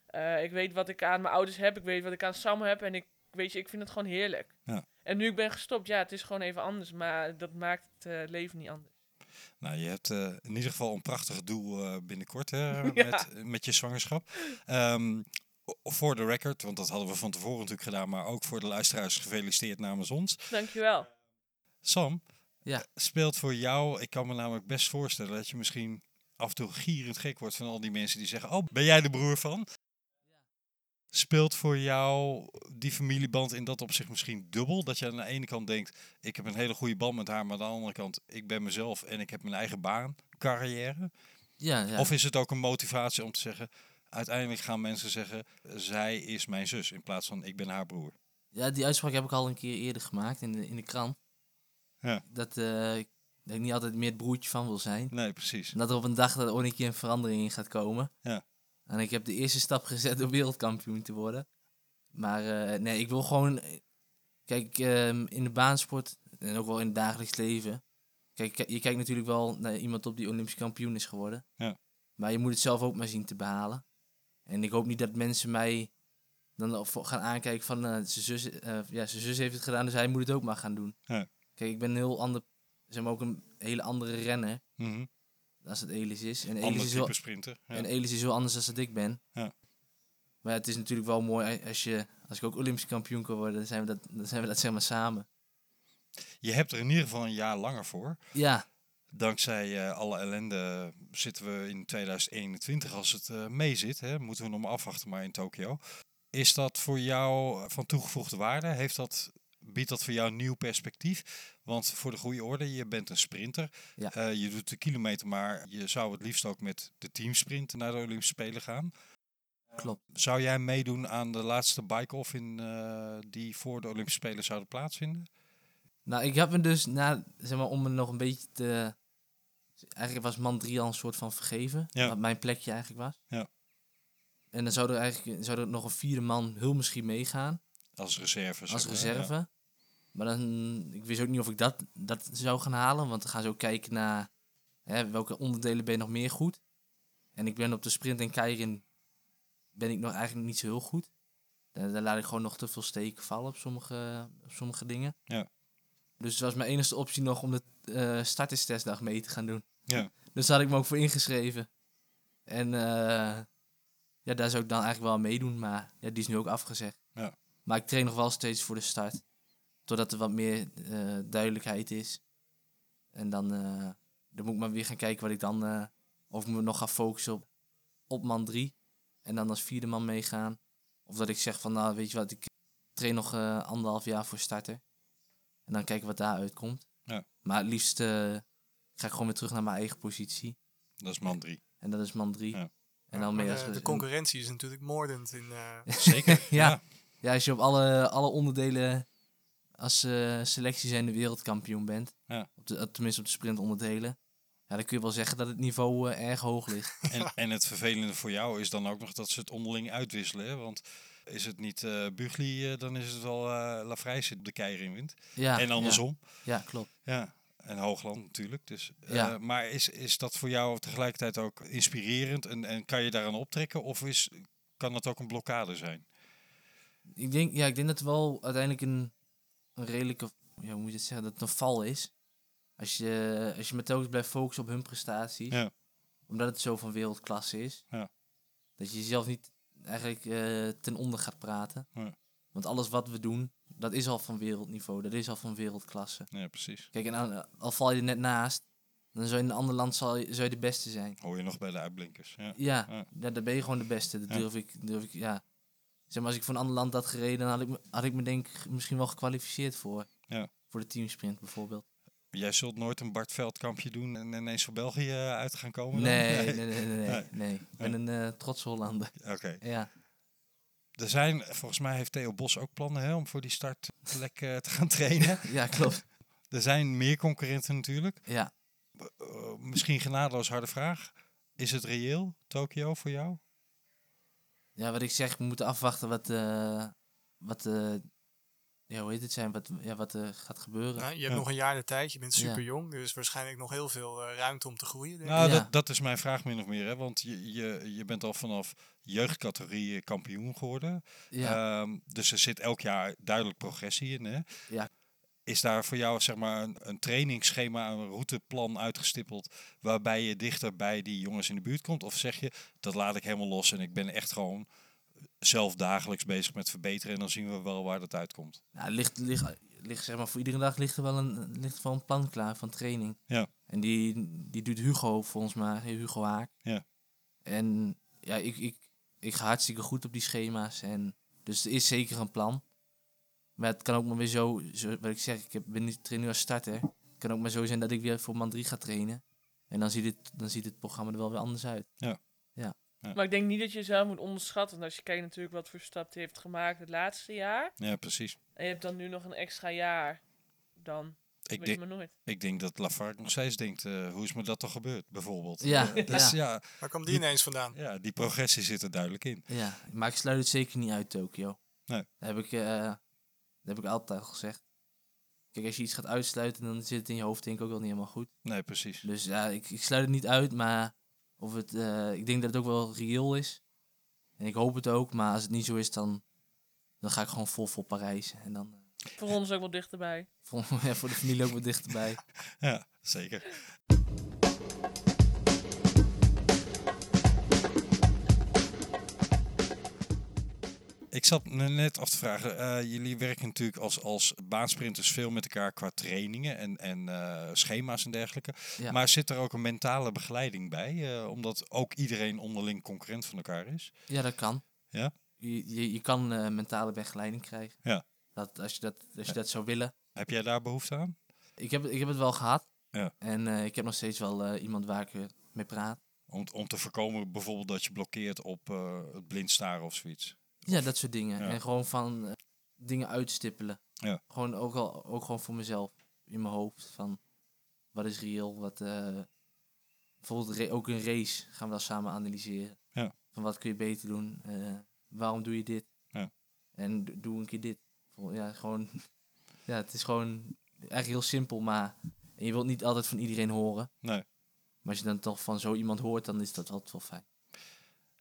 [SPEAKER 9] Eh, ik weet wat ik aan mijn ouders heb, ik weet wat ik aan Sam heb. En ik, weet je, ik vind het gewoon heerlijk.
[SPEAKER 10] Ja.
[SPEAKER 9] En nu ik ben gestopt, ja, het is gewoon even anders. Maar dat maakt het eh, leven niet anders.
[SPEAKER 10] Nou, je hebt eh, in ieder geval een prachtig doel eh, binnenkort
[SPEAKER 9] <laughs>
[SPEAKER 10] hè,
[SPEAKER 9] Ja.
[SPEAKER 10] met, met je zwangerschap. Ehm, o- voor de record, want dat hadden we van tevoren natuurlijk gedaan, maar ook voor de luisteraars gefeliciteerd namens ons.
[SPEAKER 9] Dankjewel.
[SPEAKER 10] Sam, eh,
[SPEAKER 8] Ja.
[SPEAKER 10] speelt voor jou, ik kan me namelijk best voorstellen dat je misschien af en toe gierend gek wordt van al die mensen die zeggen, oh, ben jij de broer van? Speelt voor jou die familieband in dat opzicht misschien dubbel? Dat je aan de ene kant denkt, ik heb een hele goede band met haar, maar aan de andere kant, ik ben mezelf en ik heb mijn eigen baan, carrière.
[SPEAKER 8] Ja, ja.
[SPEAKER 10] Of is het ook een motivatie om te zeggen, uiteindelijk gaan mensen zeggen, zij is mijn zus, in plaats van ik ben haar broer.
[SPEAKER 8] ja, die uitspraak heb ik al een keer eerder gemaakt in de, in de krant.
[SPEAKER 10] Ja.
[SPEAKER 8] Dat, eh, ik- dat ik niet altijd meer het broertje van wil zijn.
[SPEAKER 10] Nee, precies.
[SPEAKER 8] En dat er op een dag dat er ooit een keer een verandering in gaat komen.
[SPEAKER 10] Ja.
[SPEAKER 8] En ik heb de eerste stap gezet om wereldkampioen te worden. Maar eh, nee, ik wil gewoon... Kijk, ehm, in de baansport en ook wel in het dagelijks leven... Kijk, ki- je kijkt natuurlijk wel naar iemand op die Olympisch kampioen is geworden.
[SPEAKER 10] Ja.
[SPEAKER 8] Maar je moet het zelf ook maar zien te behalen. En ik hoop niet dat mensen mij dan of- gaan aankijken van... eh, zijn zus, eh, ja, zijn zus heeft het gedaan, dus hij moet het ook maar gaan doen.
[SPEAKER 10] Ja.
[SPEAKER 8] Kijk, ik ben een heel ander... Zeg maar ook een hele andere renner
[SPEAKER 10] Mhm.
[SPEAKER 8] als het Elis is. En Elis
[SPEAKER 10] Ander
[SPEAKER 8] is, wel,
[SPEAKER 10] type sprinter. Ja.
[SPEAKER 8] en Elis is heel anders dan dat ik ben.
[SPEAKER 10] Ja.
[SPEAKER 8] Maar het is natuurlijk wel mooi als, je, als ik ook Olympisch kampioen kan worden, dan zijn we dat, dan zijn we dat zeg maar samen.
[SPEAKER 10] Je hebt er in ieder geval een jaar langer voor.
[SPEAKER 8] Ja,
[SPEAKER 10] Dankzij eh, alle ellende zitten we in 2021 als het eh mee zit. Hè, moeten we nog maar afwachten, maar in Tokio. Is dat voor jou van toegevoegde waarde? Heeft dat, biedt dat voor jou een nieuw perspectief? Want voor de goede orde, je bent een sprinter.
[SPEAKER 8] Ja.
[SPEAKER 10] Eh, je doet de kilometer, maar je zou het liefst ook met de teamsprint naar de Olympische Spelen gaan. Eh,
[SPEAKER 8] klopt.
[SPEAKER 10] Zou jij meedoen aan de laatste bike-off in, eh, die voor de Olympische Spelen zouden plaatsvinden?
[SPEAKER 8] Nou, ik heb me dus, na, zeg maar, om me nog een beetje te... Eigenlijk was man 3 al een soort van vergeven,
[SPEAKER 10] Ja.
[SPEAKER 8] wat mijn plekje eigenlijk was.
[SPEAKER 10] Ja.
[SPEAKER 8] En dan zou er eigenlijk zou er nog een vierde man heel misschien meegaan.
[SPEAKER 10] Als reserve. zeg
[SPEAKER 8] als
[SPEAKER 10] maar, hè? Ja.
[SPEAKER 8] reserve. Maar dan, ik wist ook niet of ik dat, dat zou gaan halen. Want dan gaan ze ook kijken naar hè, welke onderdelen ben je nog meer goed. En ik ben op de sprint en keirin ben ik nog eigenlijk niet zo heel goed. Daar, daar laat ik gewoon nog te veel steken vallen op sommige, op sommige dingen.
[SPEAKER 10] Ja.
[SPEAKER 8] Dus het was mijn enige optie nog om de eh starterstestdag mee te gaan doen.
[SPEAKER 10] Ja.
[SPEAKER 8] Dus daar had ik me ook voor ingeschreven. En eh, ja, daar zou ik dan eigenlijk wel aan meedoen. Maar ja, die is nu ook afgezegd. Maar ik train nog wel steeds voor de start. Totdat er wat meer eh, duidelijkheid is. En dan, eh, dan moet ik maar weer gaan kijken wat ik dan... eh, of ik me nog ga focussen op, op man 3. En dan als vierde man meegaan. Of dat ik zeg van, nou weet je wat, ik train nog eh, anderhalf jaar voor starter. En dan kijken wat daaruit komt.
[SPEAKER 10] Ja.
[SPEAKER 8] Maar het liefst eh, ga ik gewoon weer terug naar mijn eigen positie.
[SPEAKER 10] Dat is man 3.
[SPEAKER 8] <laughs> En dat is man 3.
[SPEAKER 10] Ja.
[SPEAKER 8] En dan mee als
[SPEAKER 2] de, de concurrentie is natuurlijk moordend in eh,
[SPEAKER 10] Zeker.
[SPEAKER 8] Ja. Ja, als je op alle, alle onderdelen als eh selectie zijn de wereldkampioen bent,
[SPEAKER 10] Ja.
[SPEAKER 8] op de, eh, tenminste op de sprintonderdelen, ja, dan kun je wel zeggen dat het niveau eh, erg hoog ligt.
[SPEAKER 10] En, en het vervelende voor jou is dan ook nog dat ze het onderling uitwisselen. Hè? Want is het niet eh Bugli, eh, dan is het wel eh Lafrijs die de keier in wint.
[SPEAKER 8] Ja,
[SPEAKER 10] en andersom.
[SPEAKER 8] Ja, ja, klopt.
[SPEAKER 10] Ja. En Hoogland natuurlijk. Dus, eh,
[SPEAKER 8] Ja.
[SPEAKER 10] Maar is, is dat voor jou tegelijkertijd ook inspirerend? En, en kan je daaraan optrekken? Of is, kan dat ook een blokkade zijn?
[SPEAKER 8] Ik denk, ja, ik denk dat het wel uiteindelijk een, een redelijke, ja, hoe moet je het zeggen, dat het een val is. Als je, als je maar telkens blijft focussen op hun prestaties,
[SPEAKER 10] Ja.
[SPEAKER 8] omdat het zo van wereldklasse is,
[SPEAKER 10] Ja.
[SPEAKER 8] dat je jezelf niet eigenlijk eh, ten onder gaat praten.
[SPEAKER 10] Ja.
[SPEAKER 8] Want alles wat we doen, dat is al van wereldniveau, dat is al van wereldklasse.
[SPEAKER 10] Ja, precies.
[SPEAKER 8] Kijk, en aan- al val je er net naast, dan zou je in een ander land zal je, zou je de beste zijn.
[SPEAKER 10] Hoor je nog bij de uitblinkers. Ja.
[SPEAKER 8] Ja,
[SPEAKER 10] Ja.
[SPEAKER 8] ja, daar ben je gewoon de beste. Dat
[SPEAKER 10] Ja.
[SPEAKER 8] durf ik, durf ik, ja. Zeg maar, als ik voor een ander land had gereden, dan had ik me, had ik me denk ik misschien wel gekwalificeerd voor.
[SPEAKER 10] Ja.
[SPEAKER 8] Voor de teamsprint bijvoorbeeld.
[SPEAKER 10] Jij zult nooit een Bart Veldkampje doen en ineens voor België eh, uit gaan komen? dan?
[SPEAKER 8] Nee, nee, nee, nee, nee.
[SPEAKER 10] Nee.
[SPEAKER 8] nee. Ik ben een eh trotse Hollander.
[SPEAKER 10] Oké.
[SPEAKER 8] Ja.
[SPEAKER 10] Er zijn, volgens mij heeft Theo Bos ook plannen hè, om voor die startplek eh, te gaan trainen.
[SPEAKER 8] ja, klopt.
[SPEAKER 10] Er zijn meer concurrenten natuurlijk.
[SPEAKER 8] Ja.
[SPEAKER 10] Eh, misschien genadeloos harde vraag. Is het reëel, Tokio, voor jou?
[SPEAKER 8] Ja, wat ik zeg, we moeten afwachten wat, eh, wat eh, ja, hoe heet het zijn, wat, ja, wat eh, gaat gebeuren.
[SPEAKER 2] Nou, je hebt
[SPEAKER 10] Ja.
[SPEAKER 2] nog een jaar de tijd, je bent
[SPEAKER 8] Ja.
[SPEAKER 2] super jong, dus waarschijnlijk nog heel veel eh, ruimte om te groeien. Denk ik.
[SPEAKER 10] Nou,
[SPEAKER 8] Ja.
[SPEAKER 10] dat, dat is mijn vraag min of meer. Hè? Want je, je, je bent al vanaf jeugdcategorie kampioen geworden.
[SPEAKER 8] ja.
[SPEAKER 10] Ehm, dus er zit elk jaar duidelijk progressie in. Hè?
[SPEAKER 8] Ja.
[SPEAKER 10] Is daar voor jou zeg maar, een, een trainingsschema, een routeplan uitgestippeld waarbij je dichter bij die jongens in de buurt komt? Of zeg je, dat laat ik helemaal los en ik ben echt gewoon zelf dagelijks bezig met verbeteren en dan zien we wel waar dat uitkomt.
[SPEAKER 8] Nou, het ligt, ligt, ligt, zeg maar, voor iedere dag ligt er wel een, ligt er wel een plan klaar van training.
[SPEAKER 10] Ja.
[SPEAKER 8] En die, die doet Hugo volgens mij, Hugo Haak.
[SPEAKER 10] Ja.
[SPEAKER 8] En ja, ik, ik, ik ga hartstikke goed op die schema's. En, dus er is zeker een plan. Maar het kan ook maar weer zo, zo wat ik zeg, ik heb, ben niet train nu als starter. Het kan ook maar zo zijn dat ik weer voor man 3 ga trainen. En dan ziet, het, dan ziet het programma er wel weer anders uit.
[SPEAKER 9] Maar ik denk niet dat je jezelf moet onderschatten. Want als je kijkt natuurlijk wat voor stap hij heeft gemaakt het laatste jaar.
[SPEAKER 10] Ja, precies.
[SPEAKER 9] En je hebt dan nu nog een extra jaar. Dan
[SPEAKER 10] Ik
[SPEAKER 9] weet je
[SPEAKER 10] denk,
[SPEAKER 9] maar nooit.
[SPEAKER 10] ik denk dat Lafargue nog steeds denkt, eh, hoe is me dat toch gebeurd, bijvoorbeeld.
[SPEAKER 8] Ja,
[SPEAKER 10] Eh, dus,
[SPEAKER 8] ja.
[SPEAKER 10] ja.
[SPEAKER 2] Waar kwam die ineens vandaan?
[SPEAKER 10] Ja, die progressie zit er duidelijk in.
[SPEAKER 8] Ja, maar ik sluit het zeker niet uit, Tokio.
[SPEAKER 10] Nee.
[SPEAKER 8] Dat heb ik, eh, dat heb ik altijd al gezegd. Kijk, als je iets gaat uitsluiten, dan zit het in je hoofd denk ik ook wel niet helemaal goed.
[SPEAKER 10] Nee, precies.
[SPEAKER 8] Dus ja, ik, ik sluit het niet uit, maar of het, eh, ik denk dat het ook wel reëel is. En ik hoop het ook, maar als het niet zo is, dan, dan ga ik gewoon vol voor Parijs. En dan eh,
[SPEAKER 9] Voor ons ook wel dichterbij.
[SPEAKER 8] voor, <laughs> ja, voor de familie ook wat
[SPEAKER 10] <laughs>
[SPEAKER 8] dichterbij.
[SPEAKER 10] Ja, zeker. Ik zat me net af te vragen, eh, jullie werken natuurlijk als, als baansprinters veel met elkaar qua trainingen en, en eh, schema's en dergelijke.
[SPEAKER 8] Ja.
[SPEAKER 10] Maar zit er ook een mentale begeleiding bij, eh, omdat ook iedereen onderling concurrent van elkaar is?
[SPEAKER 8] Ja, dat kan.
[SPEAKER 10] Ja?
[SPEAKER 8] Je, je, je kan eh, mentale begeleiding krijgen.
[SPEAKER 10] Ja.
[SPEAKER 8] Dat, als je dat, als je dat zou willen.
[SPEAKER 10] Heb jij daar behoefte aan?
[SPEAKER 8] Ik heb, ik heb het wel gehad.
[SPEAKER 10] Ja.
[SPEAKER 8] En eh, ik heb nog steeds wel eh, iemand waar ik eh, mee praat.
[SPEAKER 10] Om, om te voorkomen bijvoorbeeld dat je blokkeert op eh, het blind staren of zoiets.
[SPEAKER 8] Ja, dat soort dingen.
[SPEAKER 10] Ja.
[SPEAKER 8] En gewoon van eh, dingen uitstippelen.
[SPEAKER 10] Ja.
[SPEAKER 8] Gewoon ook, al, ook gewoon voor mezelf. In mijn hoofd. Van wat is reëel? Wat, eh, bijvoorbeeld ra- ook een race gaan we dan samen analyseren.
[SPEAKER 10] Ja.
[SPEAKER 8] Van wat kun je beter doen? Eh, waarom doe je dit?
[SPEAKER 10] Ja.
[SPEAKER 8] En do- doe een keer dit. Vol- Ja, gewoon, <laughs> ja, het is gewoon eigenlijk heel simpel. Maar en je wilt niet altijd van iedereen horen.
[SPEAKER 10] Nee.
[SPEAKER 8] Maar als je dan toch van zo iemand hoort, dan is dat altijd wel fijn.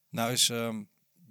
[SPEAKER 10] Nou is ehm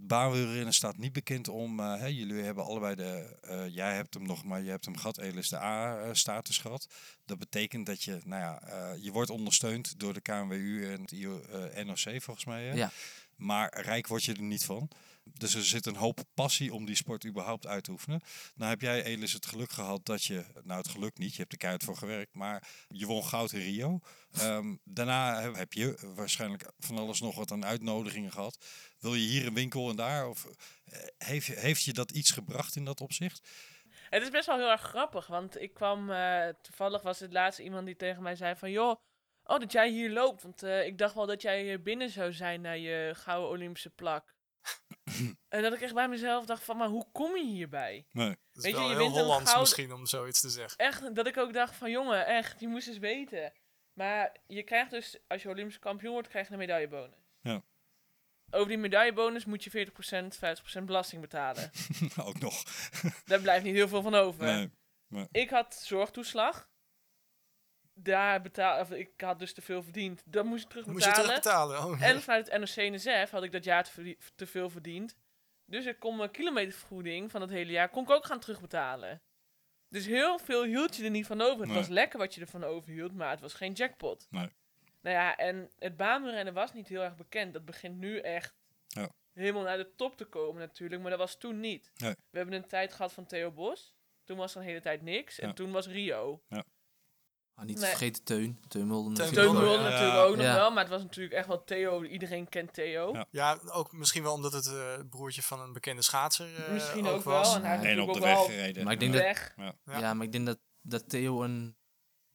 [SPEAKER 10] baanwielrennen staat niet bekend om. eh, hè, jullie hebben allebei de. eh, jij hebt hem nog, maar je hebt hem gehad. Elis de A-status gehad. Dat betekent dat je, nou ja, eh, je wordt ondersteund door de KNWU en het IO, eh, NOC volgens mij. hè?
[SPEAKER 8] Ja.
[SPEAKER 10] Maar rijk word je er niet van. Dus er zit een hoop passie om die sport überhaupt uit te oefenen. Nou heb jij, Elis, het geluk gehad dat je... Nou, het geluk niet, je hebt er keihard voor gewerkt. Maar je won goud in Rio. Ehm, daarna heb- heb je waarschijnlijk van alles nog wat aan uitnodigingen gehad. Wil je hier een winkel en daar? Of, eh, heeft, heeft je dat iets gebracht in dat opzicht?
[SPEAKER 8] <laughs>
[SPEAKER 10] <laughs>
[SPEAKER 9] Het is best wel heel erg grappig, want ik kwam... eh, toevallig was het laatst iemand die tegen mij zei van... joh, oh, dat jij hier loopt. Want eh, ik dacht wel dat jij hier binnen zou zijn na je gouden Olympische
[SPEAKER 10] <laughs>
[SPEAKER 9] plak. en dat ik echt bij mezelf dacht van... maar hoe kom je hierbij?
[SPEAKER 10] Nee.
[SPEAKER 2] Dat
[SPEAKER 9] Weet
[SPEAKER 2] is
[SPEAKER 9] je,
[SPEAKER 2] wel
[SPEAKER 9] je
[SPEAKER 2] heel
[SPEAKER 9] wint een
[SPEAKER 2] Hollands
[SPEAKER 9] goud-
[SPEAKER 2] misschien om zoiets te zeggen.
[SPEAKER 9] Echt, dat ik ook dacht van... jongen, echt, je moest eens weten. Maar je krijgt dus... als je Olympisch kampioen wordt, krijg je een medaillebonus.
[SPEAKER 10] Ja.
[SPEAKER 9] Over die medaillebonus moet je 40%, 50% belasting betalen.
[SPEAKER 10] Ook nog.
[SPEAKER 9] Daar blijft niet heel veel van over.
[SPEAKER 10] Nee.
[SPEAKER 9] Ik had zorgtoeslag. Daar betaal, of ik had dus te veel verdiend. Dat moest ik
[SPEAKER 2] Moest je
[SPEAKER 9] terugbetalen.
[SPEAKER 2] terugbetalen? Oh, nee.
[SPEAKER 9] En vanuit het NOC-NSF had ik dat jaar te, verdie- te veel verdiend. Dus ik kon mijn kilometervergoeding van dat hele jaar kon ik ook gaan terugbetalen. Dus heel veel hield je er niet van over. Het
[SPEAKER 10] Nee.
[SPEAKER 9] was lekker wat je ervan overhield, maar het was geen jackpot.
[SPEAKER 10] Nee.
[SPEAKER 9] Nou ja, en het baanrennen was niet heel erg bekend. Dat begint nu echt
[SPEAKER 10] Ja.
[SPEAKER 9] helemaal naar de top te komen natuurlijk, maar dat was toen niet.
[SPEAKER 10] Nee.
[SPEAKER 9] We hebben een tijd gehad van Theo Bos. Toen was er een hele tijd niks. En
[SPEAKER 10] Ja.
[SPEAKER 9] toen was Rio.
[SPEAKER 8] Ah, niet te
[SPEAKER 9] Nee.
[SPEAKER 8] vergeten Teun. Teun Mulder.
[SPEAKER 2] Teun
[SPEAKER 9] Teun
[SPEAKER 2] Mulder,
[SPEAKER 8] natuurlijk.
[SPEAKER 9] Hulde
[SPEAKER 2] ja.
[SPEAKER 9] natuurlijk ook nog
[SPEAKER 8] Ja.
[SPEAKER 9] wel, maar het was natuurlijk echt wel Theo. Iedereen kent Theo.
[SPEAKER 10] Ja.
[SPEAKER 2] Ja, ook misschien wel omdat het eh, broertje van een bekende schaatser eh,
[SPEAKER 9] Misschien ook, wel.
[SPEAKER 2] was.
[SPEAKER 9] En hij heeft
[SPEAKER 10] En op
[SPEAKER 9] natuurlijk
[SPEAKER 10] de
[SPEAKER 9] ook
[SPEAKER 10] weg
[SPEAKER 9] wel
[SPEAKER 10] gereden.
[SPEAKER 8] Maar ik denk
[SPEAKER 10] Ja.
[SPEAKER 8] dat-
[SPEAKER 9] weg.
[SPEAKER 8] Ja.
[SPEAKER 2] Ja.
[SPEAKER 8] maar ik denk dat, dat Theo een...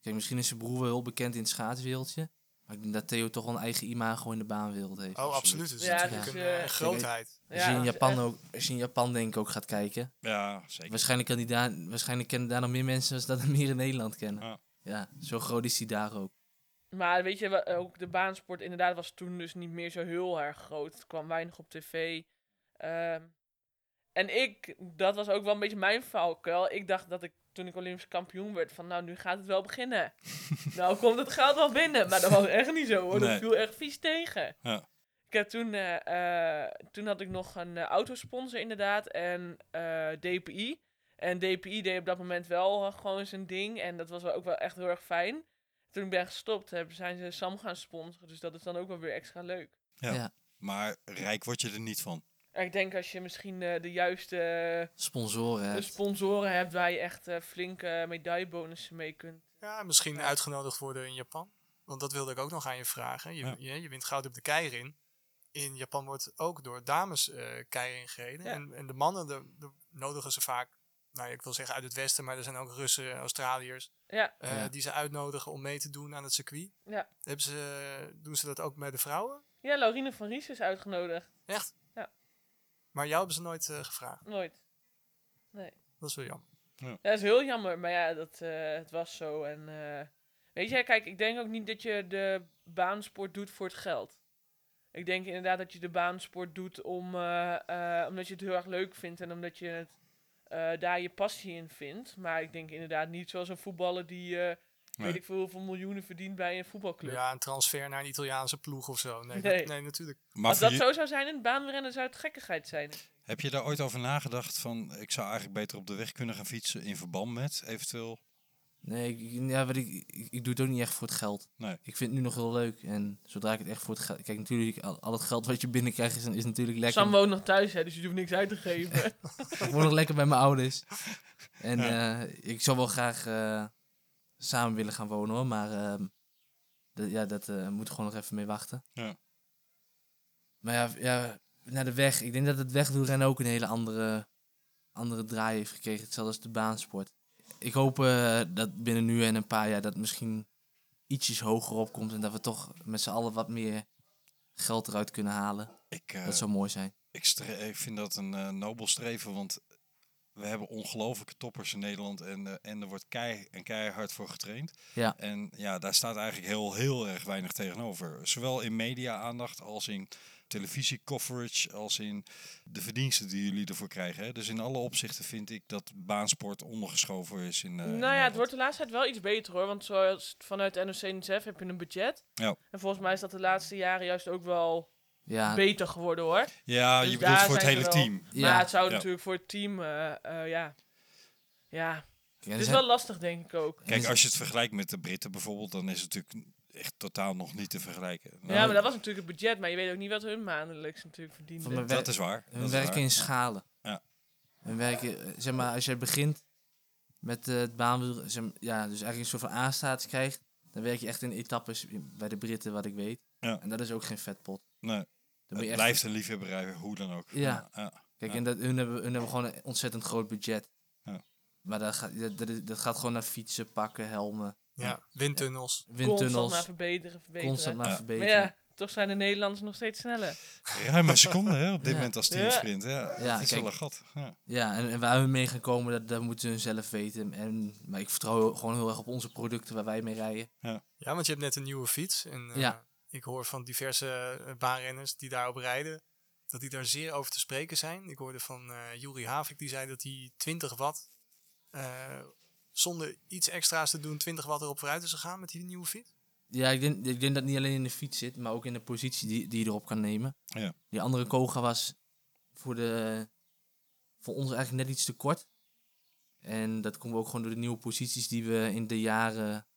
[SPEAKER 8] Kijk, misschien is zijn broer wel heel bekend in het schaatswereldje. Maar ik denk dat Theo toch wel een eigen imago in de baanwereld heeft.
[SPEAKER 2] Oh, absoluut. Het is
[SPEAKER 9] Ja,
[SPEAKER 2] natuurlijk
[SPEAKER 8] dus,
[SPEAKER 2] een
[SPEAKER 9] eh,
[SPEAKER 2] eh, grootheid.
[SPEAKER 9] Ja,
[SPEAKER 8] Als, je in
[SPEAKER 9] dat is
[SPEAKER 8] Japan
[SPEAKER 9] echt-
[SPEAKER 8] ook, als je in Japan denk ik ook gaat kijken.
[SPEAKER 10] Ja, zeker.
[SPEAKER 8] Waarschijnlijk, kan die daar, waarschijnlijk kennen daar nog meer mensen dan dat er meer in Nederland kennen.
[SPEAKER 10] Ja.
[SPEAKER 8] Ja, zo groot is hij daar ook.
[SPEAKER 9] Maar weet je, wa- ook de baansport inderdaad was toen dus niet meer zo heel erg groot. Het kwam weinig op tv. Ehm, en ik, dat was ook wel een beetje mijn valkuil. Ik dacht dat ik toen ik Olympisch kampioen werd, van nou, nu gaat het wel
[SPEAKER 10] <laughs>
[SPEAKER 9] beginnen. nou komt het geld wel binnen. Maar dat was echt niet zo hoor.
[SPEAKER 10] Nee.
[SPEAKER 9] Dat viel echt vies tegen.
[SPEAKER 10] Ja.
[SPEAKER 9] Ik heb toen, eh, eh, toen had ik nog een eh, autosponsor inderdaad en eh, DPI. En DPI deed op dat moment wel eh, gewoon zijn ding. En dat was wel ook wel echt heel erg fijn. Toen ik ben gestopt, hebben, zijn ze Sam gaan sponsoren. Dus dat is dan ook wel weer extra leuk.
[SPEAKER 10] Ja.
[SPEAKER 8] Ja.
[SPEAKER 10] Maar rijk word je er niet van.
[SPEAKER 9] En ik denk als je misschien eh, de juiste eh,
[SPEAKER 8] Sponsoren.
[SPEAKER 2] Dus-
[SPEAKER 8] hè.
[SPEAKER 9] sponsoren hebt waar je echt eh, flinke medaillebonussen mee kunt.
[SPEAKER 2] Ja, misschien uitgenodigd worden in Japan. Want dat wilde ik ook nog aan je vragen. Je,
[SPEAKER 10] Ja.
[SPEAKER 2] je, je wint goud op de keirin. In Japan wordt ook door dames eh keirin gereden.
[SPEAKER 9] Ja.
[SPEAKER 2] En, en de mannen de, de nodigen ze vaak, nou ik wil zeggen uit het westen, maar er zijn ook Russen, Australiërs,
[SPEAKER 9] Ja,
[SPEAKER 2] eh,
[SPEAKER 8] Ja.
[SPEAKER 2] die ze uitnodigen om mee te doen aan het circuit.
[SPEAKER 9] ja.
[SPEAKER 2] Hebben ze, doen ze dat ook met de vrouwen?
[SPEAKER 9] ja Laurine van Ries is uitgenodigd.
[SPEAKER 2] Echt?
[SPEAKER 9] Ja.
[SPEAKER 2] Maar jou hebben ze nooit eh, gevraagd.
[SPEAKER 9] Nooit. Nee.
[SPEAKER 2] Dat is wel jammer.
[SPEAKER 9] Ja, dat is heel jammer, maar ja, dat, eh, het was zo. En, eh, weet je, kijk, ik denk ook niet dat je de baansport doet voor het geld. Ik denk inderdaad dat je de baansport doet om, eh, eh, omdat je het heel erg leuk vindt en omdat je het, eh, daar je passie in vindt. Maar ik denk inderdaad niet zoals een voetballer die, eh,
[SPEAKER 10] Nee.
[SPEAKER 9] weet ik veel, hoeveel miljoenen verdient bij een voetbalclub.
[SPEAKER 2] Ja, een transfer naar een Italiaanse ploeg of zo. Nee,
[SPEAKER 9] Nee.
[SPEAKER 2] dat- nee natuurlijk.
[SPEAKER 10] Maar
[SPEAKER 9] Als
[SPEAKER 10] voor
[SPEAKER 9] dat
[SPEAKER 10] je-
[SPEAKER 9] zo zou zijn in het baanrennen, zou het gekkigheid zijn.
[SPEAKER 10] heb je daar ooit over nagedacht van... ik zou eigenlijk beter op de weg kunnen gaan fietsen in verband met eventueel...
[SPEAKER 8] Nee, ik, ik- ja, weet ik, ik, ik doe het ook niet echt voor het geld.
[SPEAKER 10] Nee.
[SPEAKER 8] Ik vind het nu nog heel leuk. En zodra ik het echt voor het geld... Kijk, natuurlijk, al, al het geld wat je binnenkrijgt is, is natuurlijk lekker.
[SPEAKER 9] Sam woont nog thuis, hè, dus je hoeft niks uit
[SPEAKER 8] <laughs>
[SPEAKER 9] te geven.
[SPEAKER 8] Ik woon nog lekker bij mijn ouders. En eh, ik zou wel graag eh, samen willen gaan wonen, hoor. Maar ehm, dat- ja, dat eh, moet gewoon nog even mee wachten.
[SPEAKER 10] Ja.
[SPEAKER 8] Maar ja, ja, naar de weg. Ik denk dat het wegwielrennen ook een hele andere, andere draai heeft gekregen. Hetzelfde als de baansport. Ik hoop eh, dat binnen nu en een paar jaar dat misschien ietsjes hoger opkomt. En dat we toch met z'n allen wat meer geld eruit kunnen halen.
[SPEAKER 10] Ik, eh,
[SPEAKER 8] Dat zou mooi zijn.
[SPEAKER 10] ik, stre- ik vind dat een eh, nobel streven, want we hebben ongelofelijke toppers in Nederland... en, eh, en er wordt kei en keihard voor getraind.
[SPEAKER 8] Ja.
[SPEAKER 10] En ja, daar staat eigenlijk heel, heel erg weinig tegenover. Zowel in media-aandacht als in televisie-coverage, als in de verdiensten die jullie ervoor krijgen. Hè? Dus in alle opzichten vind ik dat baansport ondergeschoven is. In, eh, in
[SPEAKER 9] nou ja,
[SPEAKER 10] Nederland.
[SPEAKER 9] het wordt de laatste tijd wel iets beter hoor. Want zoals vanuit NOC-NSF heb je een budget.
[SPEAKER 10] Ja.
[SPEAKER 9] En volgens mij is dat de laatste jaren juist ook wel
[SPEAKER 8] Ja,
[SPEAKER 9] beter geworden hoor.
[SPEAKER 10] Ja,
[SPEAKER 9] Dus
[SPEAKER 10] Oh, je bedoelt
[SPEAKER 9] daar
[SPEAKER 10] voor het
[SPEAKER 9] zijn
[SPEAKER 10] hele
[SPEAKER 9] ze wel.
[SPEAKER 10] team.
[SPEAKER 8] Ja.
[SPEAKER 9] Maar het zou
[SPEAKER 10] Ja.
[SPEAKER 9] natuurlijk voor het team, eh, eh, ja. Ja,
[SPEAKER 8] Ja, er
[SPEAKER 9] het is
[SPEAKER 8] zijn-
[SPEAKER 9] wel lastig denk ik ook.
[SPEAKER 8] Dus
[SPEAKER 10] Kijk, als je het vergelijkt met de Britten bijvoorbeeld, dan is het natuurlijk echt totaal nog niet te vergelijken. Nou,
[SPEAKER 9] ja, maar dat was natuurlijk het budget. Maar je weet ook niet wat hun maandelijks natuurlijk
[SPEAKER 8] Van mijn
[SPEAKER 9] verdienen.
[SPEAKER 10] dat
[SPEAKER 8] wer-
[SPEAKER 10] is waar.
[SPEAKER 8] Hun
[SPEAKER 10] dat is
[SPEAKER 8] werken
[SPEAKER 10] waar.
[SPEAKER 8] in schalen.
[SPEAKER 10] Ja.
[SPEAKER 8] Hun werken, eh, zeg maar, als jij begint met eh, het baanwiel, zeg maar, ja, dus eigenlijk een soort van aanstaat krijgt, dan werk je echt in etappes bij de Britten, wat ik weet.
[SPEAKER 10] Ja.
[SPEAKER 8] En dat is ook geen vetpot.
[SPEAKER 10] Nee,
[SPEAKER 8] Dan
[SPEAKER 10] het
[SPEAKER 8] moet je echt,
[SPEAKER 10] blijft een liefhebberij, hoe dan ook.
[SPEAKER 8] Ja.
[SPEAKER 10] ja.
[SPEAKER 8] kijk, en dat, hun, hebben, hun hebben gewoon een ontzettend groot budget.
[SPEAKER 10] Ja.
[SPEAKER 8] Maar dat gaat, dat, dat, is- dat gaat gewoon naar fietsen, pakken, helmen,
[SPEAKER 2] Ja, windtunnels.
[SPEAKER 9] Constant maar
[SPEAKER 8] windtunnels,
[SPEAKER 9] verbeteren, verbeteren.
[SPEAKER 8] constant maar
[SPEAKER 10] Ja.
[SPEAKER 9] maar
[SPEAKER 8] verbeteren.
[SPEAKER 9] ja, toch zijn de Nederlanders nog steeds sneller.
[SPEAKER 10] Ruim een seconde hè, op dit
[SPEAKER 8] Ja.
[SPEAKER 10] moment als
[SPEAKER 9] Ja.
[SPEAKER 10] team sprint. Ja,
[SPEAKER 8] Ja,
[SPEAKER 10] het is wel
[SPEAKER 8] kijk.
[SPEAKER 10] een gat. Ja.
[SPEAKER 8] Ja, en, en waar we mee gaan komen, dat, dat moeten hun zelf weten. En, maar ik vertrouw gewoon heel erg op onze producten waar wij mee rijden.
[SPEAKER 2] Ja, want je hebt net een nieuwe fiets. En eh,
[SPEAKER 8] Ja.
[SPEAKER 2] ik hoor van diverse eh, baanrenners die daarop rijden, dat die daar zeer over te spreken zijn. Ik hoorde van eh Juri Havik, die zei dat hij 20 watt, eh, zonder iets extra's te doen, 20 watt erop vooruit is gegaan met die nieuwe fiets.
[SPEAKER 8] Ja, ik denk, ik denk dat het niet alleen in de fiets zit, maar ook in de positie die, die je erop kan nemen.
[SPEAKER 10] Ja.
[SPEAKER 8] Die andere koga was voor, de, voor ons eigenlijk net iets te kort. En dat komt ook gewoon door de nieuwe posities die we in de jaren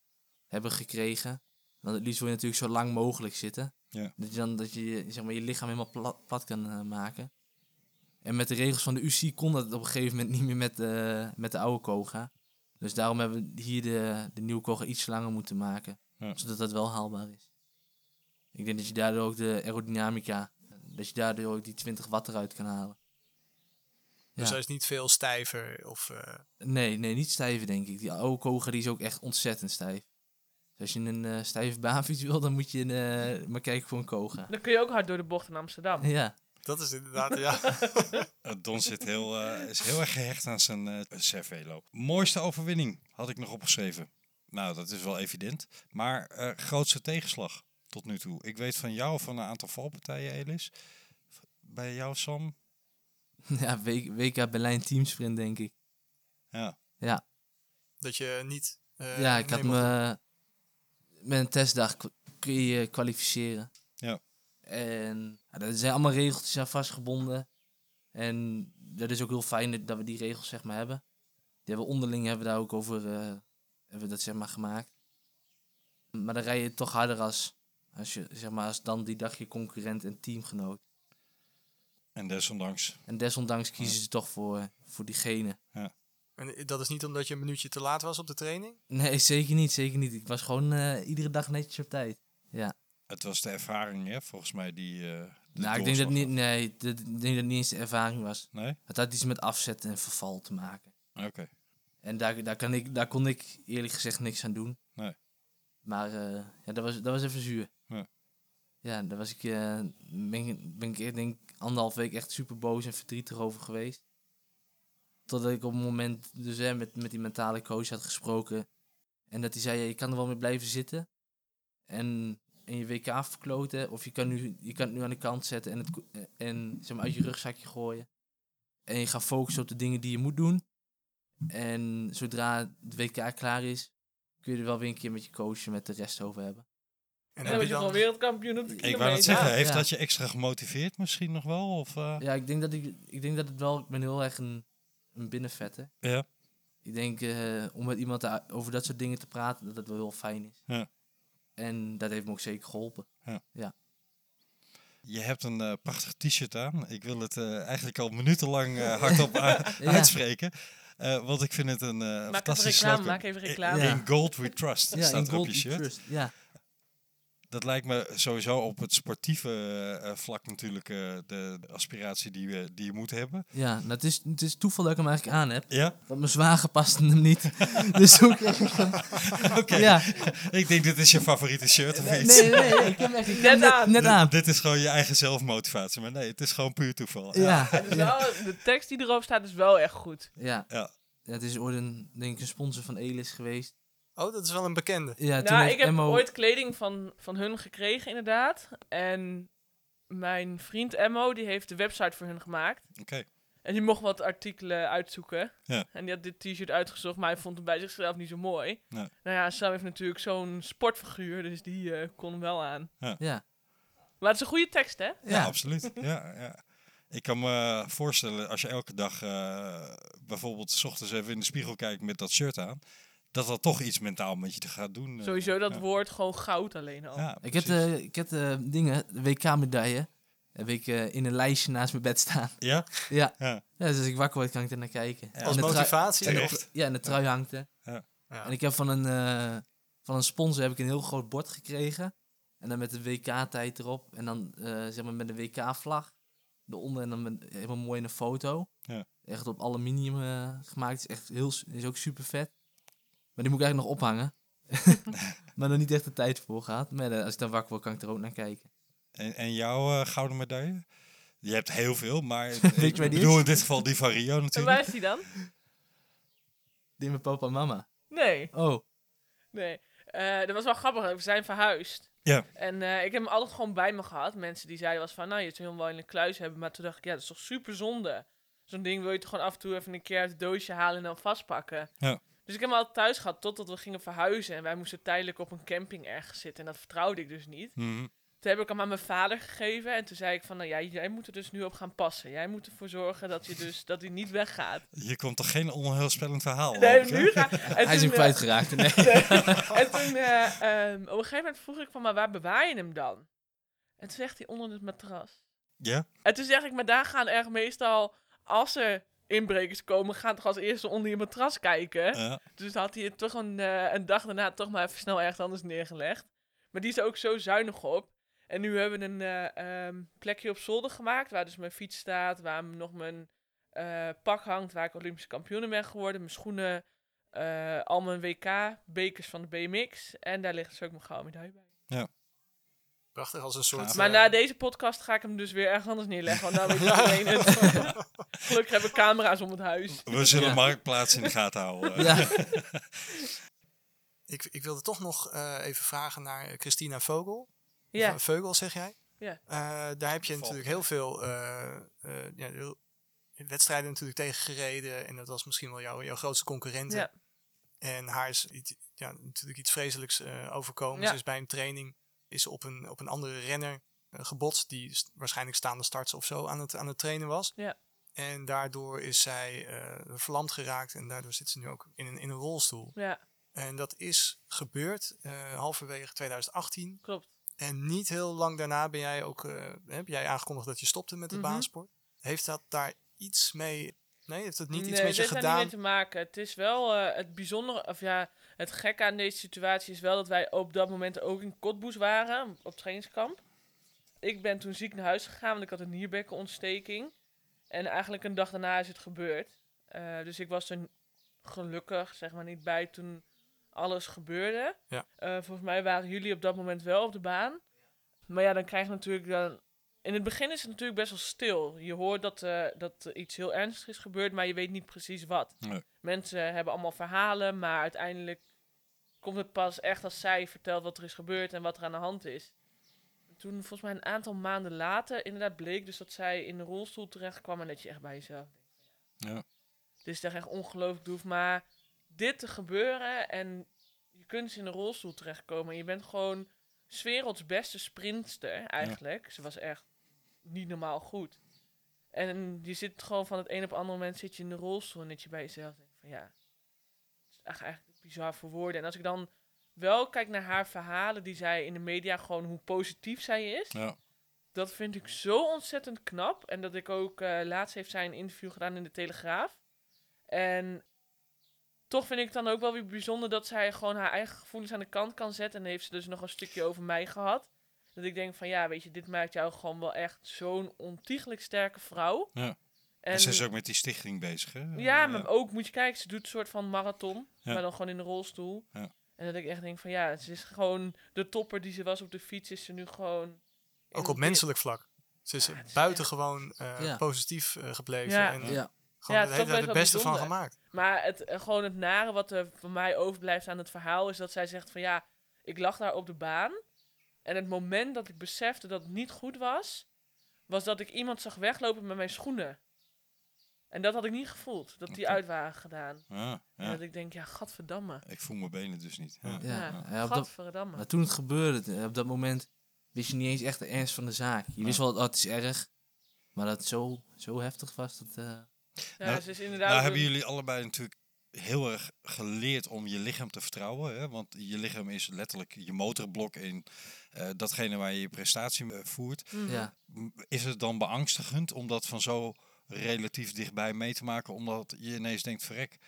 [SPEAKER 8] hebben gekregen. Want het liefst wil je natuurlijk zo lang mogelijk zitten.
[SPEAKER 10] Ja.
[SPEAKER 8] Dat je dan dat je, zeg maar, je lichaam helemaal plat, plat kan eh, maken. En met de regels van de UC kon dat op een gegeven moment niet meer met, eh, met de oude koga. Dus daarom hebben we hier de, de nieuwe koga iets langer moeten maken zodat dat wel haalbaar is. Ik denk dat je daardoor ook de aerodynamica, dat je daardoor ook die 20 watt eruit kan halen.
[SPEAKER 2] Dus
[SPEAKER 8] Ja.
[SPEAKER 2] hij is niet veel stijver. Of, eh,
[SPEAKER 8] Nee, nee, niet stijven denk ik. Die oude koger die is ook echt ontzettend stijf. Dus als je een eh stijve baanfiets <laughs> wil, dan moet je een, eh, maar kijken voor een koga.
[SPEAKER 9] Dan kun je ook hard door de bocht in Amsterdam.
[SPEAKER 8] Ja, <laughs>
[SPEAKER 2] dat is inderdaad, ja. <laughs>
[SPEAKER 10] Eh, Don zit heel, eh, is heel erg gehecht aan zijn eh, Cervelo. Mooiste overwinning had ik nog opgeschreven. Nou, dat is wel evident. Maar eh, grootste tegenslag tot nu toe. Ik weet van jou van een aantal valpartijen, Elis. Bij jou, Sam.
[SPEAKER 8] ja W- WK Berlijn teamsprint denk ik.
[SPEAKER 10] Ja,
[SPEAKER 2] Dat je niet... eh,
[SPEAKER 8] ja, ik had
[SPEAKER 2] nee, maar-
[SPEAKER 8] me met een testdag k- kun je je kwalificeren.
[SPEAKER 10] Ja.
[SPEAKER 8] En ja, er zijn allemaal regeltjes aan vastgebonden. En dat is ook heel fijn dat- dat we die regels zeg maar hebben. Die hebben onderling hebben we daar ook over eh, hebben we dat zeg maar gemaakt. Maar dan rij je toch harder als, als je zeg maar als dan die dag je concurrent en teamgenoot.
[SPEAKER 10] En desondanks.
[SPEAKER 8] En desondanks kiezen ze toch voor, voor diegene.
[SPEAKER 2] En dat is niet omdat je een minuutje te laat was op de training?
[SPEAKER 8] Nee, zeker niet, zeker niet. Ik was gewoon eh, iedere dag netjes op tijd. Ja.
[SPEAKER 10] Het was de ervaring, hè, volgens mij, die. eh, de
[SPEAKER 8] nou, ik denk dat
[SPEAKER 10] doorslag
[SPEAKER 8] niet, nee, dat, ik denk dat het niet eens de ervaring was.
[SPEAKER 10] had. Nee?
[SPEAKER 8] Het had iets met afzet en verval te maken.
[SPEAKER 10] Oké.
[SPEAKER 8] En daar, daar, kan ik, daar kon ik eerlijk gezegd niks aan doen.
[SPEAKER 10] Nee.
[SPEAKER 8] Maar eh, ja, dat, was, dat was even zuur.
[SPEAKER 10] Ja.
[SPEAKER 8] Ja, daar was ik, eh, ben, ik- ben ik echt, denk ik, anderhalf week echt super boos en verdrietig over geweest. Totdat ik op het moment dus hè, met, met die mentale coach had gesproken. En dat hij zei, ja, je kan er wel mee blijven zitten. En, en je WK verkloten. Of je kan, nu, je kan het nu aan de kant zetten en, het, ko- eh, en zeg maar, uit je rugzakje gooien. En je gaat focussen op de dingen die je moet doen. En zodra het WK klaar is, kun je er wel weer een keer met je coach en met de rest over hebben.
[SPEAKER 2] En
[SPEAKER 9] En dan word je gewoon wereldkampioen op de
[SPEAKER 10] Ik
[SPEAKER 9] kilometer.
[SPEAKER 10] wou het zeggen, heeft
[SPEAKER 8] ja.
[SPEAKER 10] dat je extra gemotiveerd misschien nog wel? Of, eh,
[SPEAKER 8] Ja, ik denk dat, ik, ik denk dat het wel... Ik ben heel erg een, een binnenvetter.
[SPEAKER 10] Ja.
[SPEAKER 8] Ik denk eh, om met iemand te- over dat soort dingen te praten, dat dat wel heel fijn is.
[SPEAKER 10] Ja.
[SPEAKER 8] En dat heeft me ook zeker geholpen.
[SPEAKER 10] Je hebt een eh, prachtig t-shirt aan. Ik wil het eh, eigenlijk al
[SPEAKER 9] <laughs>
[SPEAKER 10] minutenlang eh, hardop a-
[SPEAKER 8] Ja.
[SPEAKER 10] uitspreken. Eh, want ik vind het een eh,
[SPEAKER 9] Maak even
[SPEAKER 10] fantastisch Eh,
[SPEAKER 9] reclame,
[SPEAKER 10] slogan.
[SPEAKER 9] maak even reclame.
[SPEAKER 10] In Gold We Trust
[SPEAKER 8] Ja,
[SPEAKER 10] staat
[SPEAKER 8] in
[SPEAKER 10] er op
[SPEAKER 8] Gold
[SPEAKER 10] je
[SPEAKER 8] We
[SPEAKER 10] shirt.
[SPEAKER 8] Trust. Ja,
[SPEAKER 10] Dat lijkt me sowieso op het sportieve eh, eh, vlak natuurlijk eh, de, de aspiratie die, we, die je moet hebben.
[SPEAKER 8] ja nou, het, is, het is toeval dat ik hem eigenlijk aan heb.
[SPEAKER 10] Ja,
[SPEAKER 8] Want mijn zwager paste hem
[SPEAKER 10] <laughs>
[SPEAKER 8] niet. dus toen kreeg ik hem.
[SPEAKER 10] oké.
[SPEAKER 8] Ja.
[SPEAKER 10] Ik denk dit is je favoriete shirt of
[SPEAKER 8] Nee,
[SPEAKER 10] iets.
[SPEAKER 8] nee, nee. Ik heb hem echt ik heb
[SPEAKER 9] Net
[SPEAKER 8] hem net,
[SPEAKER 9] aan.
[SPEAKER 8] net aan.
[SPEAKER 10] Nou, Dit is gewoon je eigen zelfmotivatie. Maar nee, het is gewoon puur toeval.
[SPEAKER 8] Ja.
[SPEAKER 10] eh,
[SPEAKER 9] Het is wel- Nou, de tekst die erop staat is wel echt goed.
[SPEAKER 8] Ja.
[SPEAKER 10] Ja.
[SPEAKER 8] Het is ooit een, denk ik, een sponsor van Elis geweest.
[SPEAKER 2] Oh, dat is wel een bekende.
[SPEAKER 8] Ja, toen
[SPEAKER 9] nou,
[SPEAKER 8] heeft
[SPEAKER 9] ik heb
[SPEAKER 8] Emmo-
[SPEAKER 9] ooit kleding van, van hun gekregen, inderdaad. En mijn vriend Emmo, die heeft de website voor hun gemaakt.
[SPEAKER 10] Oké.
[SPEAKER 9] En die mocht wat artikelen uitzoeken.
[SPEAKER 10] Ja.
[SPEAKER 9] En die had dit t-shirt uitgezocht, maar hij vond hem bij zichzelf niet zo mooi.
[SPEAKER 10] Nee.
[SPEAKER 9] Nou ja, Sam heeft natuurlijk zo'n sportfiguur, dus die eh, kon hem wel aan.
[SPEAKER 8] Ja.
[SPEAKER 9] Maar het is een goede tekst, hè?
[SPEAKER 10] Ja,
[SPEAKER 8] Ja. <laughs>
[SPEAKER 10] absoluut. ja, ja. Ik kan me voorstellen, als je elke dag eh, bijvoorbeeld 's ochtends even in de spiegel kijkt met dat shirt aan, dat dat toch iets mentaal met je te gaat doen. eh.
[SPEAKER 9] Sowieso dat
[SPEAKER 10] Ja.
[SPEAKER 9] woord gewoon goud alleen al.
[SPEAKER 10] Ja,
[SPEAKER 8] Ik heb,
[SPEAKER 10] precies.
[SPEAKER 8] de, ik heb de dingen, de WK-medaille, heb ik eh, in een lijstje naast mijn bed staan.
[SPEAKER 10] Ja?
[SPEAKER 8] Ja.
[SPEAKER 10] Ja.
[SPEAKER 8] ja. Dus als ik wakker word, kan ik er naar kijken. En
[SPEAKER 2] Als
[SPEAKER 8] de trui-
[SPEAKER 2] motivatie.
[SPEAKER 10] Terecht.
[SPEAKER 8] ja, en de trui hangt er.
[SPEAKER 10] Ja.
[SPEAKER 2] Ja.
[SPEAKER 8] En ik heb van een, eh, van een sponsor heb ik een heel groot bord gekregen. En dan met de WK-tijd erop. En dan eh, zeg maar met de WK-vlag eronder. En dan met, helemaal mooi in een foto.
[SPEAKER 10] Ja.
[SPEAKER 8] Echt op aluminium eh, gemaakt. Is, echt heel, s- is ook super vet. Maar die moet ik eigenlijk nog ophangen. <laughs> maar nog niet echt de tijd voor gehad. Maar eh, als ik dan wakker word, kan ik er ook naar kijken.
[SPEAKER 10] En, en jouw eh, gouden medaille? Je hebt heel veel,
[SPEAKER 8] <laughs>
[SPEAKER 10] maar
[SPEAKER 8] je
[SPEAKER 10] ik
[SPEAKER 8] waar die
[SPEAKER 10] bedoel
[SPEAKER 8] is?
[SPEAKER 10] in dit geval die
[SPEAKER 8] <laughs>
[SPEAKER 10] van Rio
[SPEAKER 9] En waar
[SPEAKER 10] natuurlijk.
[SPEAKER 9] is die dan?
[SPEAKER 8] Die met papa en mama.
[SPEAKER 9] Nee,
[SPEAKER 8] Oh,
[SPEAKER 9] nee. Eh, dat was wel grappig, we zijn verhuisd.
[SPEAKER 10] Ja.
[SPEAKER 9] En eh, ik heb hem altijd gewoon bij me gehad. Mensen die zeiden was van, nou, je zou hem wel in een kluis hebben. Maar toen dacht ik, ja, dat is toch super zonde. Zo'n ding wil je toch gewoon af en toe even een keer uit het doosje halen en dan vastpakken.
[SPEAKER 10] Ja.
[SPEAKER 9] Dus ik heb hem altijd thuis gehad totdat we gingen verhuizen. En wij moesten tijdelijk op een camping ergens zitten. En dat vertrouwde ik dus niet.
[SPEAKER 10] Mhm.
[SPEAKER 9] Toen heb ik hem aan mijn vader gegeven. En toen zei ik van, nou ja, jij moet er dus nu op gaan passen. Jij moet ervoor zorgen dat hij dus, dat hij niet weggaat.
[SPEAKER 10] Hier komt toch geen onheilspellend verhaal?
[SPEAKER 9] Nee,
[SPEAKER 10] op, hè?
[SPEAKER 9] nu ga
[SPEAKER 8] Oh,
[SPEAKER 9] eh,
[SPEAKER 8] hij is hem eh, kwijtgeraakt.
[SPEAKER 9] <laughs>
[SPEAKER 8] Nee.
[SPEAKER 9] En toen, eh, ehm, op een gegeven moment vroeg ik van, maar waar bewaar je hem dan? En toen zegt hij onder het matras.
[SPEAKER 10] Ja?
[SPEAKER 9] En toen zeg ik, maar daar gaan er meestal, als er inbrekers komen, gaan toch als eerste onder je matras kijken.
[SPEAKER 10] Ja.
[SPEAKER 9] Dus had hij het toch een, eh, een dag daarna toch maar even snel ergens anders neergelegd. Maar die is er ook zo zuinig op. En nu hebben we een eh, ehm, plekje op zolder gemaakt, waar dus mijn fiets staat, waar m- nog mijn eh, pak hangt, waar ik Olympisch kampioen ben geworden, mijn schoenen, eh, al mijn WK-bekers van de BMX. En daar ligt dus ook mijn gouden medaille bij.
[SPEAKER 2] Prachtig als een soort.
[SPEAKER 10] Gaaf.
[SPEAKER 9] Maar
[SPEAKER 2] eh,
[SPEAKER 9] na deze podcast ga ik hem dus weer ergens anders neerleggen, want nou weet iedereen het. Gelukkig hebben we camera's om het huis.
[SPEAKER 10] We zullen
[SPEAKER 8] Ja.
[SPEAKER 10] Marktplaats in de gaten houden.
[SPEAKER 8] <laughs> Ja.
[SPEAKER 2] ik, ik wilde toch nog eh, even vragen naar Christina Vogel.
[SPEAKER 9] Ja,
[SPEAKER 2] Of, eh, Vogel zeg jij?
[SPEAKER 9] Ja.
[SPEAKER 2] Eh, daar heb je
[SPEAKER 10] Vogel.
[SPEAKER 2] natuurlijk heel veel eh, eh, ja, heel- wedstrijden natuurlijk tegen gereden. En dat was misschien wel jouw, jouw grootste concurrent.
[SPEAKER 9] Ja.
[SPEAKER 2] En haar is iets, ja, natuurlijk iets vreselijks eh, overkomen.
[SPEAKER 9] Ja.
[SPEAKER 2] Ze is bij een training is op een, op een andere renner eh, gebotst. Die st- waarschijnlijk staande starts of zo aan het, aan het trainen was.
[SPEAKER 9] Ja.
[SPEAKER 2] En daardoor is zij eh, verlamd geraakt en daardoor zit ze nu ook in een, in een rolstoel.
[SPEAKER 9] Ja,
[SPEAKER 2] En dat is gebeurd eh, halverwege 2018.
[SPEAKER 9] klopt.
[SPEAKER 2] En niet heel lang daarna ben jij ook, eh, heb jij aangekondigd dat je stopte met het
[SPEAKER 9] Mhm.
[SPEAKER 2] baansport. Heeft dat daar iets mee, nee, heeft dat niet iets
[SPEAKER 9] nee,
[SPEAKER 2] met je
[SPEAKER 9] dit heeft daar
[SPEAKER 2] gedaan?
[SPEAKER 9] niet mee te maken. Het is wel eh, het bijzondere, of ja, het gekke aan deze situatie is wel dat wij op dat moment ook in Cottbus waren, op trainingskamp. Ik ben toen ziek naar huis gegaan, want ik had een nierbekkenontsteking. En eigenlijk een dag daarna is het gebeurd. Eh, dus ik was er gelukkig, zeg maar, niet bij toen alles gebeurde.
[SPEAKER 2] Ja.
[SPEAKER 9] Eh, volgens mij waren jullie op dat moment wel op de baan. Maar ja, dan krijg je natuurlijk dan... In het begin is het natuurlijk best wel stil. Je hoort dat, eh, dat er iets heel ernstigs is gebeurd, maar je weet niet precies wat.
[SPEAKER 10] Nee.
[SPEAKER 9] Mensen hebben allemaal verhalen, maar uiteindelijk komt het pas echt als zij vertelt wat er is gebeurd en wat er aan de hand is. Toen, volgens mij een aantal maanden later, inderdaad bleek dus dat zij in de rolstoel terecht kwam en dat je echt bij jezelf
[SPEAKER 10] Ja.
[SPEAKER 9] het is toch echt ongelooflijk droef. Maar dit te gebeuren en je kunt eens in de rolstoel terechtkomen. En je bent gewoon 's werelds beste sprinter eigenlijk. Ze was echt niet normaal goed. En je zit gewoon van het een op het andere moment zit je in de rolstoel. En dat je bij jezelf denkt van ja, het is echt eigenlijk bizar voor woorden. En als ik dan wel kijk naar haar verhalen die zij in de media gewoon hoe positief zij is.
[SPEAKER 10] Ja.
[SPEAKER 9] Dat vind ik zo ontzettend knap. En dat ik ook eh, laatst heeft zij een interview gedaan in de Telegraaf. En toch vind ik het dan ook wel weer bijzonder dat zij gewoon haar eigen gevoelens aan de kant kan zetten. En heeft ze dus nog een stukje over mij gehad. Dat ik denk van ja, weet je, dit maakt jou gewoon wel echt zo'n ontiegelijk sterke vrouw.
[SPEAKER 10] Ja. En,
[SPEAKER 9] En-
[SPEAKER 10] ze is ook met die stichting bezig, hè?
[SPEAKER 9] ja,
[SPEAKER 10] Eh,
[SPEAKER 9] maar ook moet je kijken, ze doet een soort van marathon,
[SPEAKER 10] Ja.
[SPEAKER 9] maar dan gewoon in de rolstoel.
[SPEAKER 10] Ja.
[SPEAKER 9] En dat ik echt denk van ja, ze is gewoon de topper die ze was op de fiets, is ze nu gewoon. in
[SPEAKER 2] Ook
[SPEAKER 9] een
[SPEAKER 2] op
[SPEAKER 9] pit.
[SPEAKER 2] menselijk vlak. Ze is
[SPEAKER 9] het Ah, is
[SPEAKER 2] buitengewoon eh,
[SPEAKER 8] Ja.
[SPEAKER 2] positief eh, gebleven
[SPEAKER 9] Ja.
[SPEAKER 2] en eh,
[SPEAKER 8] <laughs> Ja,
[SPEAKER 2] gewoon
[SPEAKER 9] Ja,
[SPEAKER 2] het hele-
[SPEAKER 9] toch best
[SPEAKER 2] het
[SPEAKER 9] wel
[SPEAKER 2] beste van
[SPEAKER 9] bijzonder.
[SPEAKER 2] gemaakt.
[SPEAKER 9] Maar het, eh, gewoon het nare wat er voor mij overblijft aan het verhaal is dat zij zegt van ja, ik lag daar op de baan. En het moment dat ik besefte dat het niet goed was, was dat ik iemand zag weglopen met mijn schoenen. En dat had ik niet gevoeld, dat die
[SPEAKER 10] Oké.
[SPEAKER 9] uit waren gedaan.
[SPEAKER 10] ja,
[SPEAKER 9] En
[SPEAKER 10] ja.
[SPEAKER 9] dat ik denk, ja, gadverdamme.
[SPEAKER 10] Ik voel mijn benen dus niet. Ja.
[SPEAKER 8] ja.
[SPEAKER 9] Ja,
[SPEAKER 8] ja, op dat-
[SPEAKER 9] gadverdamme.
[SPEAKER 8] maar toen het gebeurde, eh, op dat moment wist je niet eens echt de ernst van de zaak. Je wist wel dat het is erg, maar dat het zo, zo heftig was. Dat, eh,
[SPEAKER 9] Ja,
[SPEAKER 10] Nou,
[SPEAKER 9] ze is inderdaad
[SPEAKER 10] Nou
[SPEAKER 9] een-
[SPEAKER 10] hebben jullie allebei natuurlijk heel erg geleerd om je lichaam te vertrouwen. Hè? Want je lichaam is letterlijk je motorblok in eh, datgene waar je je prestatie mee voert.
[SPEAKER 9] Mhm.
[SPEAKER 8] ja.
[SPEAKER 10] M- Is het dan beangstigend om dat van zo relatief dichtbij mee te maken, omdat je ineens denkt, verrek.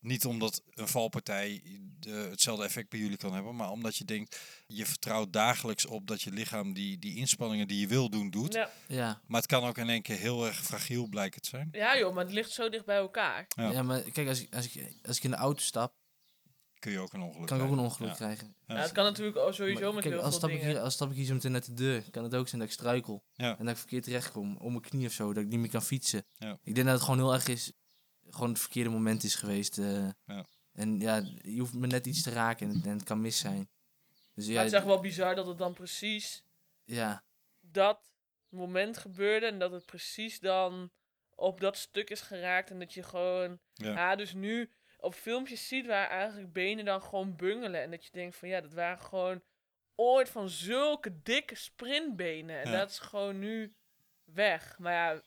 [SPEAKER 10] Niet omdat een valpartij de, hetzelfde effect bij jullie kan hebben, maar omdat je denkt, je vertrouwt dagelijks op dat je lichaam die, die inspanningen die je wil doen, doet.
[SPEAKER 9] Ja.
[SPEAKER 8] Ja.
[SPEAKER 10] Maar het kan ook in één keer heel erg fragiel blijken te zijn.
[SPEAKER 9] ja joh, maar het ligt zo dicht bij elkaar.
[SPEAKER 10] Ja.
[SPEAKER 8] Ja. maar kijk, als ik, als, ik, als ik in de auto stap,
[SPEAKER 10] Kun je ook een ongeluk
[SPEAKER 8] kan ik ook een
[SPEAKER 10] krijgen.
[SPEAKER 8] ongeluk
[SPEAKER 10] Ja.
[SPEAKER 8] krijgen.
[SPEAKER 9] Ja, het kan natuurlijk ook sowieso
[SPEAKER 8] Maar
[SPEAKER 9] met
[SPEAKER 8] kijk,
[SPEAKER 9] heel
[SPEAKER 8] als
[SPEAKER 9] veel
[SPEAKER 8] stap,
[SPEAKER 9] dingen.
[SPEAKER 8] Ik hier, als stap ik hier zo meteen uit de deur, kan het ook zijn dat ik struikel.
[SPEAKER 10] Ja.
[SPEAKER 8] En dat ik verkeerd terechtkom, om mijn knie of zo, dat ik niet meer kan fietsen.
[SPEAKER 10] Ja.
[SPEAKER 8] Ik denk dat het gewoon heel erg is, gewoon het verkeerde moment is geweest. eh.
[SPEAKER 10] Ja.
[SPEAKER 8] En ja, je hoeft me net iets te raken en, het- en het kan mis zijn. Dus
[SPEAKER 9] Maar
[SPEAKER 8] ja,
[SPEAKER 9] het is echt wel bizar dat het dan precies
[SPEAKER 8] ja,
[SPEAKER 9] dat moment gebeurde en dat het precies dan op dat stuk is geraakt en dat je gewoon,
[SPEAKER 10] Ja.
[SPEAKER 9] ja, dus nu op filmpjes ziet waar eigenlijk benen dan gewoon bungelen en dat je denkt van ja, dat waren gewoon ooit van zulke dikke sprintbenen en
[SPEAKER 10] Ja.
[SPEAKER 9] dat is gewoon nu weg. Maar ja,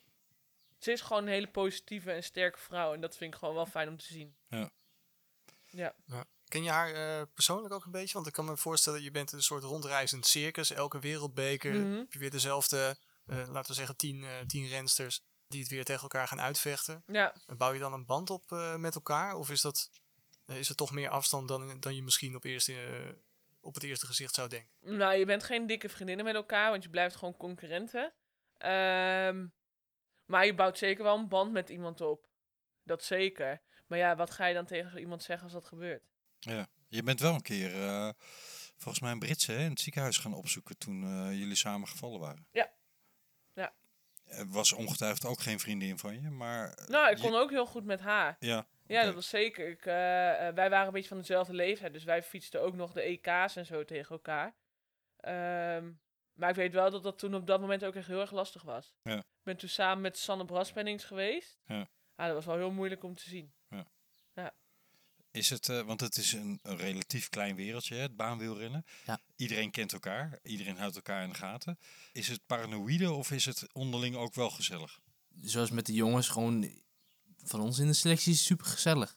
[SPEAKER 9] ze is gewoon een hele positieve en sterke vrouw en dat vind ik gewoon wel fijn om te zien.
[SPEAKER 2] Ken je haar eh, persoonlijk ook een beetje? Want ik kan me voorstellen, je bent een soort rondreizend circus. Elke wereldbeker
[SPEAKER 9] Mhm.
[SPEAKER 2] heb je weer dezelfde, eh, laten we zeggen, tien, eh, tien rensters die het weer tegen elkaar gaan uitvechten.
[SPEAKER 9] Ja,
[SPEAKER 2] En Bouw je dan een band op eh, met elkaar? Of is, dat, eh, is er toch meer afstand dan, dan je misschien op, eerste, eh, op het eerste gezicht zou denken?
[SPEAKER 9] Nou, je bent geen dikke vriendinnen met elkaar, want je blijft gewoon concurrenten. Ehm, maar je bouwt zeker wel een band met iemand op. Dat zeker. Maar ja, wat ga je dan tegen zo iemand zeggen als dat gebeurt?
[SPEAKER 10] Ja. Je bent wel een keer, eh, volgens mij een Britse, hè, in het ziekenhuis gaan opzoeken toen eh, jullie samen gevallen waren.
[SPEAKER 9] Ja. Ja.
[SPEAKER 10] Er was ongetwijfeld ook geen vriendin van je, maar... eh,
[SPEAKER 9] Nou, ik
[SPEAKER 10] je-
[SPEAKER 9] kon ook heel goed met haar.
[SPEAKER 10] Ja,
[SPEAKER 9] Ja,
[SPEAKER 10] Oké.
[SPEAKER 9] dat was zeker. Ik, eh, eh, wij waren een beetje van dezelfde leeftijd, dus wij fietsten ook nog de EK's en zo tegen elkaar. Ehm, maar ik weet wel dat dat toen op dat moment ook echt heel erg lastig was.
[SPEAKER 10] Ja.
[SPEAKER 9] Ik ben toen samen met Sanne Braspennings geweest.
[SPEAKER 10] Ja.
[SPEAKER 9] Ah, dat was wel heel moeilijk om te zien.
[SPEAKER 10] is het, eh, want het is een, een relatief klein wereldje, hè, het baanwielrennen.
[SPEAKER 8] Ja.
[SPEAKER 10] Iedereen kent elkaar, iedereen houdt elkaar in de gaten. Is het paranoïde of is het onderling ook wel gezellig?
[SPEAKER 8] zoals met de jongens, gewoon van ons in de selectie is super gezellig.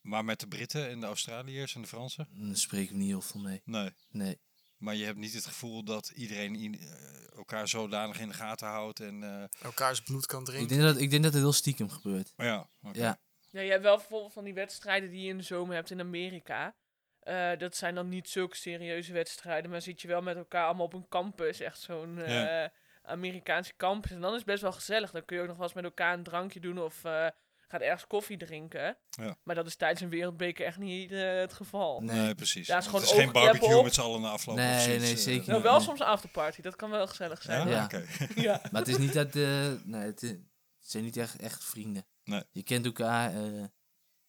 [SPEAKER 10] Maar met de Britten en de Australiërs en de Fransen?
[SPEAKER 8] Dan spreken we niet heel veel mee.
[SPEAKER 10] Nee.
[SPEAKER 8] Nee.
[SPEAKER 10] Maar je hebt niet het gevoel dat iedereen in- eh, elkaar zodanig in de gaten houdt. En, eh,
[SPEAKER 2] Elkaars bloed kan
[SPEAKER 8] Ik
[SPEAKER 2] drinken.
[SPEAKER 8] denk, dat, ik denk dat het heel stiekem gebeurt.
[SPEAKER 10] maar ja, oké.
[SPEAKER 8] Ja.
[SPEAKER 9] Ja, Nou, je hebt wel bijvoorbeeld van die wedstrijden die je in de zomer hebt in Amerika. Eh, dat zijn dan niet zulke serieuze wedstrijden, maar zit je wel met elkaar allemaal op een campus, echt zo'n
[SPEAKER 10] Ja.
[SPEAKER 9] eh, Amerikaanse campus. En dan is het best wel gezellig. Dan kun je ook nog wel eens met elkaar een drankje doen of eh, gaat ergens koffie drinken.
[SPEAKER 10] Ja.
[SPEAKER 9] Maar dat is tijdens een wereldbeker echt niet eh, het geval.
[SPEAKER 10] Nee, precies.
[SPEAKER 9] Ja, het
[SPEAKER 10] het
[SPEAKER 9] is
[SPEAKER 10] is,
[SPEAKER 9] gewoon
[SPEAKER 10] geen
[SPEAKER 9] oogkleppen
[SPEAKER 10] barbecue
[SPEAKER 9] op.
[SPEAKER 10] met z'n allen na afloop.
[SPEAKER 8] Nee,
[SPEAKER 10] of zoiets,
[SPEAKER 8] nee,
[SPEAKER 10] eh.
[SPEAKER 8] zeker
[SPEAKER 9] Nou,
[SPEAKER 8] niet.
[SPEAKER 9] wel
[SPEAKER 8] Ja.
[SPEAKER 9] soms een afterparty, dat kan wel gezellig zijn.
[SPEAKER 10] Ja,
[SPEAKER 8] Ja.
[SPEAKER 10] oké. <laughs>
[SPEAKER 9] Ja.
[SPEAKER 8] Maar het is niet dat... eh, nee, het, het zijn niet echt, echt vrienden.
[SPEAKER 10] Nee.
[SPEAKER 8] Je kent elkaar. eh,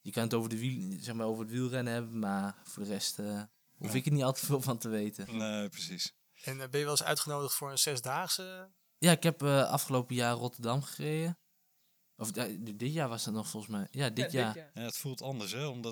[SPEAKER 8] je kan het over, de wiel, zeg maar, over het wielrennen hebben, maar voor de rest eh, hoef
[SPEAKER 10] Ja.
[SPEAKER 8] ik er niet altijd veel van te weten.
[SPEAKER 10] Nee, precies.
[SPEAKER 2] En eh, ben je wel eens uitgenodigd voor een zesdaagse?
[SPEAKER 8] Ja, ik heb eh, afgelopen jaar Rotterdam gereden. Of eh, dit jaar was dat nog volgens mij. Ja, dit,
[SPEAKER 9] Ja,
[SPEAKER 8] jaar.
[SPEAKER 10] Ja, het voelt anders, hè, omdat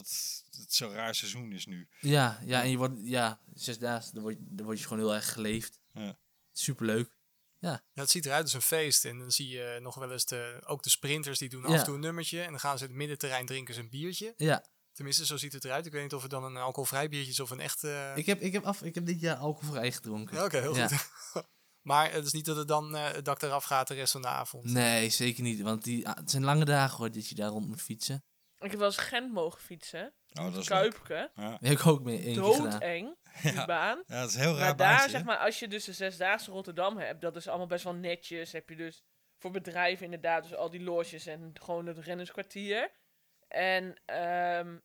[SPEAKER 10] het zo'n raar seizoen is nu.
[SPEAKER 8] Ja, ja, en je wordt, ja, zes dagen, dan word, je- dan word je gewoon heel erg geleefd.
[SPEAKER 10] Ja.
[SPEAKER 8] Superleuk.
[SPEAKER 2] Ja, het ziet eruit als een feest. En dan zie je eh, nog wel eens de, ook de sprinters die doen af
[SPEAKER 8] Ja.
[SPEAKER 2] en toe een nummertje. En dan gaan ze in het middenterrein drinken ze een biertje.
[SPEAKER 8] Ja,
[SPEAKER 2] Tenminste, zo ziet het eruit. Ik weet niet of het dan een alcoholvrij biertje is of een echt... eh,
[SPEAKER 8] ik heb, ik heb, af, ik heb dit jaar alcoholvrij gedronken.
[SPEAKER 2] Ja, Oké, heel
[SPEAKER 8] Ja.
[SPEAKER 2] goed. <laughs> maar het is niet dat het dan eh, het dak eraf gaat de rest van de avond.
[SPEAKER 8] Nee, zeker niet. Want die, ah, het zijn lange dagen hoor, dat je daar rond moet fietsen.
[SPEAKER 9] Ik heb wel eens Gent mogen fietsen.
[SPEAKER 10] Oh, dat is leuk.
[SPEAKER 9] Kuipke.
[SPEAKER 10] Ja.
[SPEAKER 8] Daar heb ik ook mee één keer gedaan.
[SPEAKER 9] Doodeng, die
[SPEAKER 10] <laughs> Ja.
[SPEAKER 9] baan.
[SPEAKER 10] ja, dat is een heel raar
[SPEAKER 9] Maar daar,
[SPEAKER 10] baantje,
[SPEAKER 9] zeg
[SPEAKER 10] hè?
[SPEAKER 9] maar, als je dus de Zesdaagse Rotterdam hebt, dat is allemaal best wel netjes. Heb je dus voor bedrijven inderdaad, dus al die loges en gewoon het rennerskwartier. En ehm,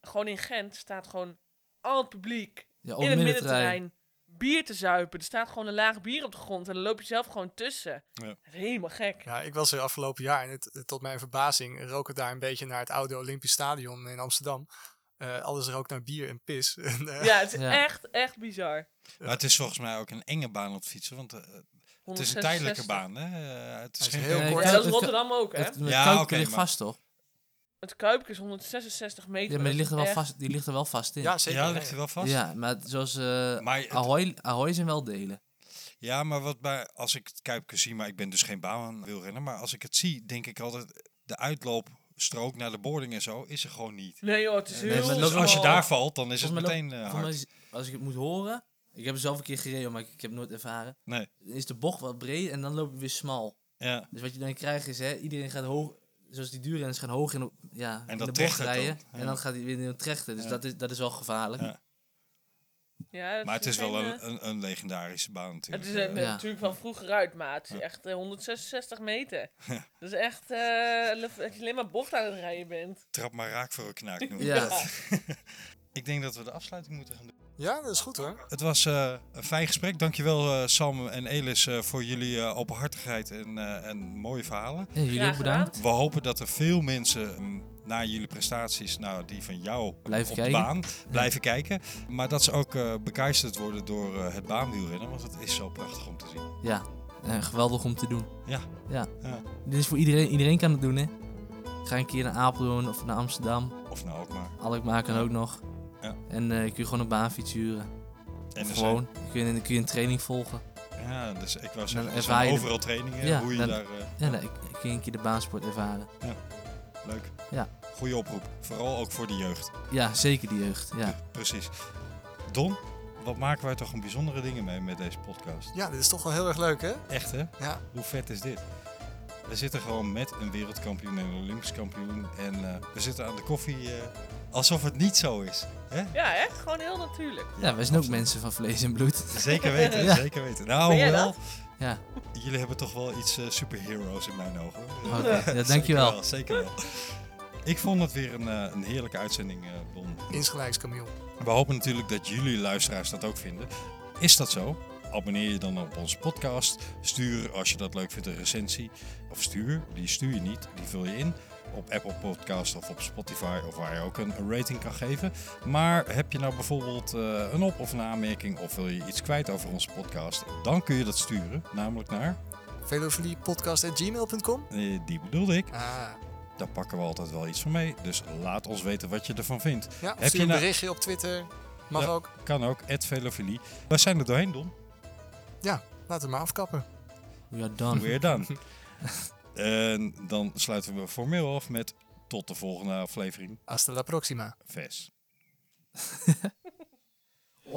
[SPEAKER 9] gewoon in Gent staat gewoon al het publiek
[SPEAKER 8] Ja,
[SPEAKER 9] in het
[SPEAKER 8] middenterrein.
[SPEAKER 9] middenterrein bier te zuipen. Er staat gewoon een laag bier op de grond en dan loop je zelf gewoon tussen.
[SPEAKER 10] Ja.
[SPEAKER 9] Dat is helemaal gek.
[SPEAKER 2] Ja, ik was er afgelopen jaar en het, het- tot mijn verbazing rook het daar een beetje naar het oude Olympisch Stadion in Amsterdam. Eh, alles rookt naar bier en pis. <laughs> En, eh,
[SPEAKER 9] Ja, het is
[SPEAKER 8] Ja.
[SPEAKER 9] echt, echt bizar.
[SPEAKER 10] Maar het is volgens mij ook een enge baan op het fietsen, want eh, het is een
[SPEAKER 9] 166.
[SPEAKER 10] tijdelijke baan. Hè? Eh, het is
[SPEAKER 2] Hij is
[SPEAKER 10] geen
[SPEAKER 2] heel
[SPEAKER 10] heel
[SPEAKER 8] kort.
[SPEAKER 2] <laughs>
[SPEAKER 9] Ja, dat
[SPEAKER 8] Het
[SPEAKER 9] is
[SPEAKER 8] kan-
[SPEAKER 9] Rotterdam ook, hè?
[SPEAKER 8] Het, het
[SPEAKER 10] Ja,
[SPEAKER 8] kuipje
[SPEAKER 10] oké,
[SPEAKER 8] ligt
[SPEAKER 10] maar-
[SPEAKER 8] vast toch?
[SPEAKER 9] Het Kuipke is 166 meter.
[SPEAKER 8] Ja, maar die ligt er wel,
[SPEAKER 9] Echt.
[SPEAKER 8] vast, die ligt er wel vast in.
[SPEAKER 2] ja zeker.
[SPEAKER 10] Ja, ligt er wel vast.
[SPEAKER 8] Ja, maar zoals eh
[SPEAKER 10] Maar het-
[SPEAKER 8] Ahoy, Ahoy zijn wel delen.
[SPEAKER 10] Ja, maar wat bij, als ik het Kuipke zie, maar ik ben dus geen baanwielrenner, maar als ik het zie, denk ik altijd, de uitloopstrook naar de boarding en zo is er gewoon niet.
[SPEAKER 9] Nee joh, het is
[SPEAKER 8] Nee,
[SPEAKER 9] heel
[SPEAKER 8] maar het
[SPEAKER 10] Dus
[SPEAKER 8] loopt
[SPEAKER 10] als je
[SPEAKER 9] smal.
[SPEAKER 10] daar valt, dan is het
[SPEAKER 8] Volgens mij
[SPEAKER 10] meteen eh,
[SPEAKER 8] Voor mij
[SPEAKER 10] hard.
[SPEAKER 8] is- als ik het moet horen, ik heb er zelf een keer gereden, maar ik, ik heb het nooit ervaren.
[SPEAKER 10] Nee.
[SPEAKER 8] Dan Is de bocht wat breed en dan loop je weer smal.
[SPEAKER 10] Ja,
[SPEAKER 8] Dus wat je dan krijgt is, hè, iedereen gaat hoog, zoals die duurrenners gaan hoog in, op- ja, in
[SPEAKER 10] dat
[SPEAKER 8] de bocht
[SPEAKER 10] trechtert
[SPEAKER 8] rijden.
[SPEAKER 10] dan, ja.
[SPEAKER 8] En dan gaat hij weer in een trechter. Dus
[SPEAKER 10] Ja.
[SPEAKER 8] dat, is, dat is wel gevaarlijk.
[SPEAKER 10] Ja.
[SPEAKER 9] Ja,
[SPEAKER 10] maar het is wel
[SPEAKER 9] geen, eh,
[SPEAKER 10] een, een, een legendarische baan
[SPEAKER 9] Het
[SPEAKER 10] natuurlijk.
[SPEAKER 9] is een-
[SPEAKER 8] Ja.
[SPEAKER 9] natuurlijk van vroeger uit, maar het is
[SPEAKER 10] Ja.
[SPEAKER 9] echt eh, 166
[SPEAKER 10] <laughs>
[SPEAKER 9] meter. Dat is echt eh, lef- dat je alleen maar bocht aan het rijden bent.
[SPEAKER 10] Trap maar raak voor een knaak noemen.
[SPEAKER 8] Ja.
[SPEAKER 10] <laughs> Ik denk dat we de afsluiting moeten gaan doen.
[SPEAKER 2] Ja, dat is goed hoor.
[SPEAKER 10] Het was eh, een fijn gesprek. Dankjewel eh, Sam en Elis eh, voor jullie eh, openhartigheid en, eh, en mooie verhalen.
[SPEAKER 8] Ja, jullie
[SPEAKER 9] Graag
[SPEAKER 8] ook bedankt.
[SPEAKER 9] gedaan.
[SPEAKER 10] We hopen dat er veel mensen mm, naar jullie prestaties, nou die van jou
[SPEAKER 8] Blijven
[SPEAKER 10] op
[SPEAKER 8] kijken.
[SPEAKER 10] de baan, blijven kijken. Maar dat ze ook eh, begeisterd worden door eh, het baanwielrennen, want het is zo prachtig om te zien.
[SPEAKER 8] Ja, eh, geweldig om te doen.
[SPEAKER 10] Ja.
[SPEAKER 8] ja.
[SPEAKER 10] Ja.
[SPEAKER 8] Dit is voor iedereen. Iedereen kan het doen, hè. Ga een keer naar Apeldoorn of naar Amsterdam.
[SPEAKER 10] Of nou ook maar.
[SPEAKER 8] Alkmaar kan ook nog.
[SPEAKER 10] Ja.
[SPEAKER 8] En eh, kun je gewoon een baanfiets huren.
[SPEAKER 10] En er
[SPEAKER 8] gewoon. Kun je, kun je een training volgen.
[SPEAKER 10] zijn- ja, dus ik was zeggen,
[SPEAKER 8] Dan
[SPEAKER 10] er
[SPEAKER 8] ervaar
[SPEAKER 10] zijn
[SPEAKER 8] je de-
[SPEAKER 10] overal trainingen,
[SPEAKER 8] Ja,
[SPEAKER 10] hoe je
[SPEAKER 8] dan-
[SPEAKER 10] daar... eh,
[SPEAKER 8] Ja, nou, ik, kun je een keer de baansport ervaren.
[SPEAKER 10] Leuk.
[SPEAKER 8] Ja.
[SPEAKER 10] Goeie oproep. Vooral ook voor de jeugd.
[SPEAKER 8] Ja, zeker die jeugd. Ja.
[SPEAKER 10] Precies. Don, wat maken wij toch een bijzondere dingen mee met deze podcast?
[SPEAKER 2] Ja, dit is toch wel heel erg leuk hè?
[SPEAKER 10] Echt hè?
[SPEAKER 2] Ja.
[SPEAKER 10] Hoe vet is dit? We zitten gewoon met een wereldkampioen en een Olympisch kampioen. En eh, we zitten aan de koffie eh, alsof het niet zo is. Hè?
[SPEAKER 9] Ja, hè? Gewoon heel natuurlijk.
[SPEAKER 8] ja, wij zijn ook mensen van vlees en bloed.
[SPEAKER 10] Zeker weten,
[SPEAKER 8] Ja.
[SPEAKER 10] zeker weten. Nou,
[SPEAKER 9] Ben jij
[SPEAKER 10] hoewel,
[SPEAKER 8] Ja,
[SPEAKER 10] jullie hebben toch wel iets eh, superheroes in mijn ogen. hoor.
[SPEAKER 8] oké. ja dankjewel.
[SPEAKER 10] Zeker wel, zeker wel. Ik vond het weer een, eh, een heerlijke uitzending, eh, Don.
[SPEAKER 2] Insgelijks Camille.
[SPEAKER 10] We hopen natuurlijk dat jullie luisteraars dat ook vinden. Is dat zo? Abonneer je dan op onze podcast. Stuur als je dat leuk vindt een recensie. Of stuur, die stuur je niet, die vul je in. Op Apple Podcast of op Spotify of waar je ook een een rating kan geven. Maar heb je nou bijvoorbeeld eh, een op- of een aanmerking of wil je iets kwijt over onze podcast, dan kun je dat sturen. Namelijk naar,
[SPEAKER 2] Velofiliepodcast.gmail.com
[SPEAKER 10] eh, die bedoelde ik,
[SPEAKER 2] Ah,
[SPEAKER 10] daar pakken we altijd wel iets van mee. Dus laat ons weten wat je ervan vindt.
[SPEAKER 2] ja, of
[SPEAKER 10] Heb
[SPEAKER 2] stuur
[SPEAKER 10] je
[SPEAKER 2] een
[SPEAKER 10] nou-
[SPEAKER 2] berichtje op Twitter. Mag
[SPEAKER 10] Ja.
[SPEAKER 2] ook.
[SPEAKER 10] Kan ook, @velofilie. Waar zijn er doorheen, Don?
[SPEAKER 2] Ja, laat het maar afkappen.
[SPEAKER 8] We are done.
[SPEAKER 10] Weer dan. <laughs> En dan sluiten we formeel af met tot de volgende aflevering.
[SPEAKER 2] Hasta la próxima.
[SPEAKER 10] Ves.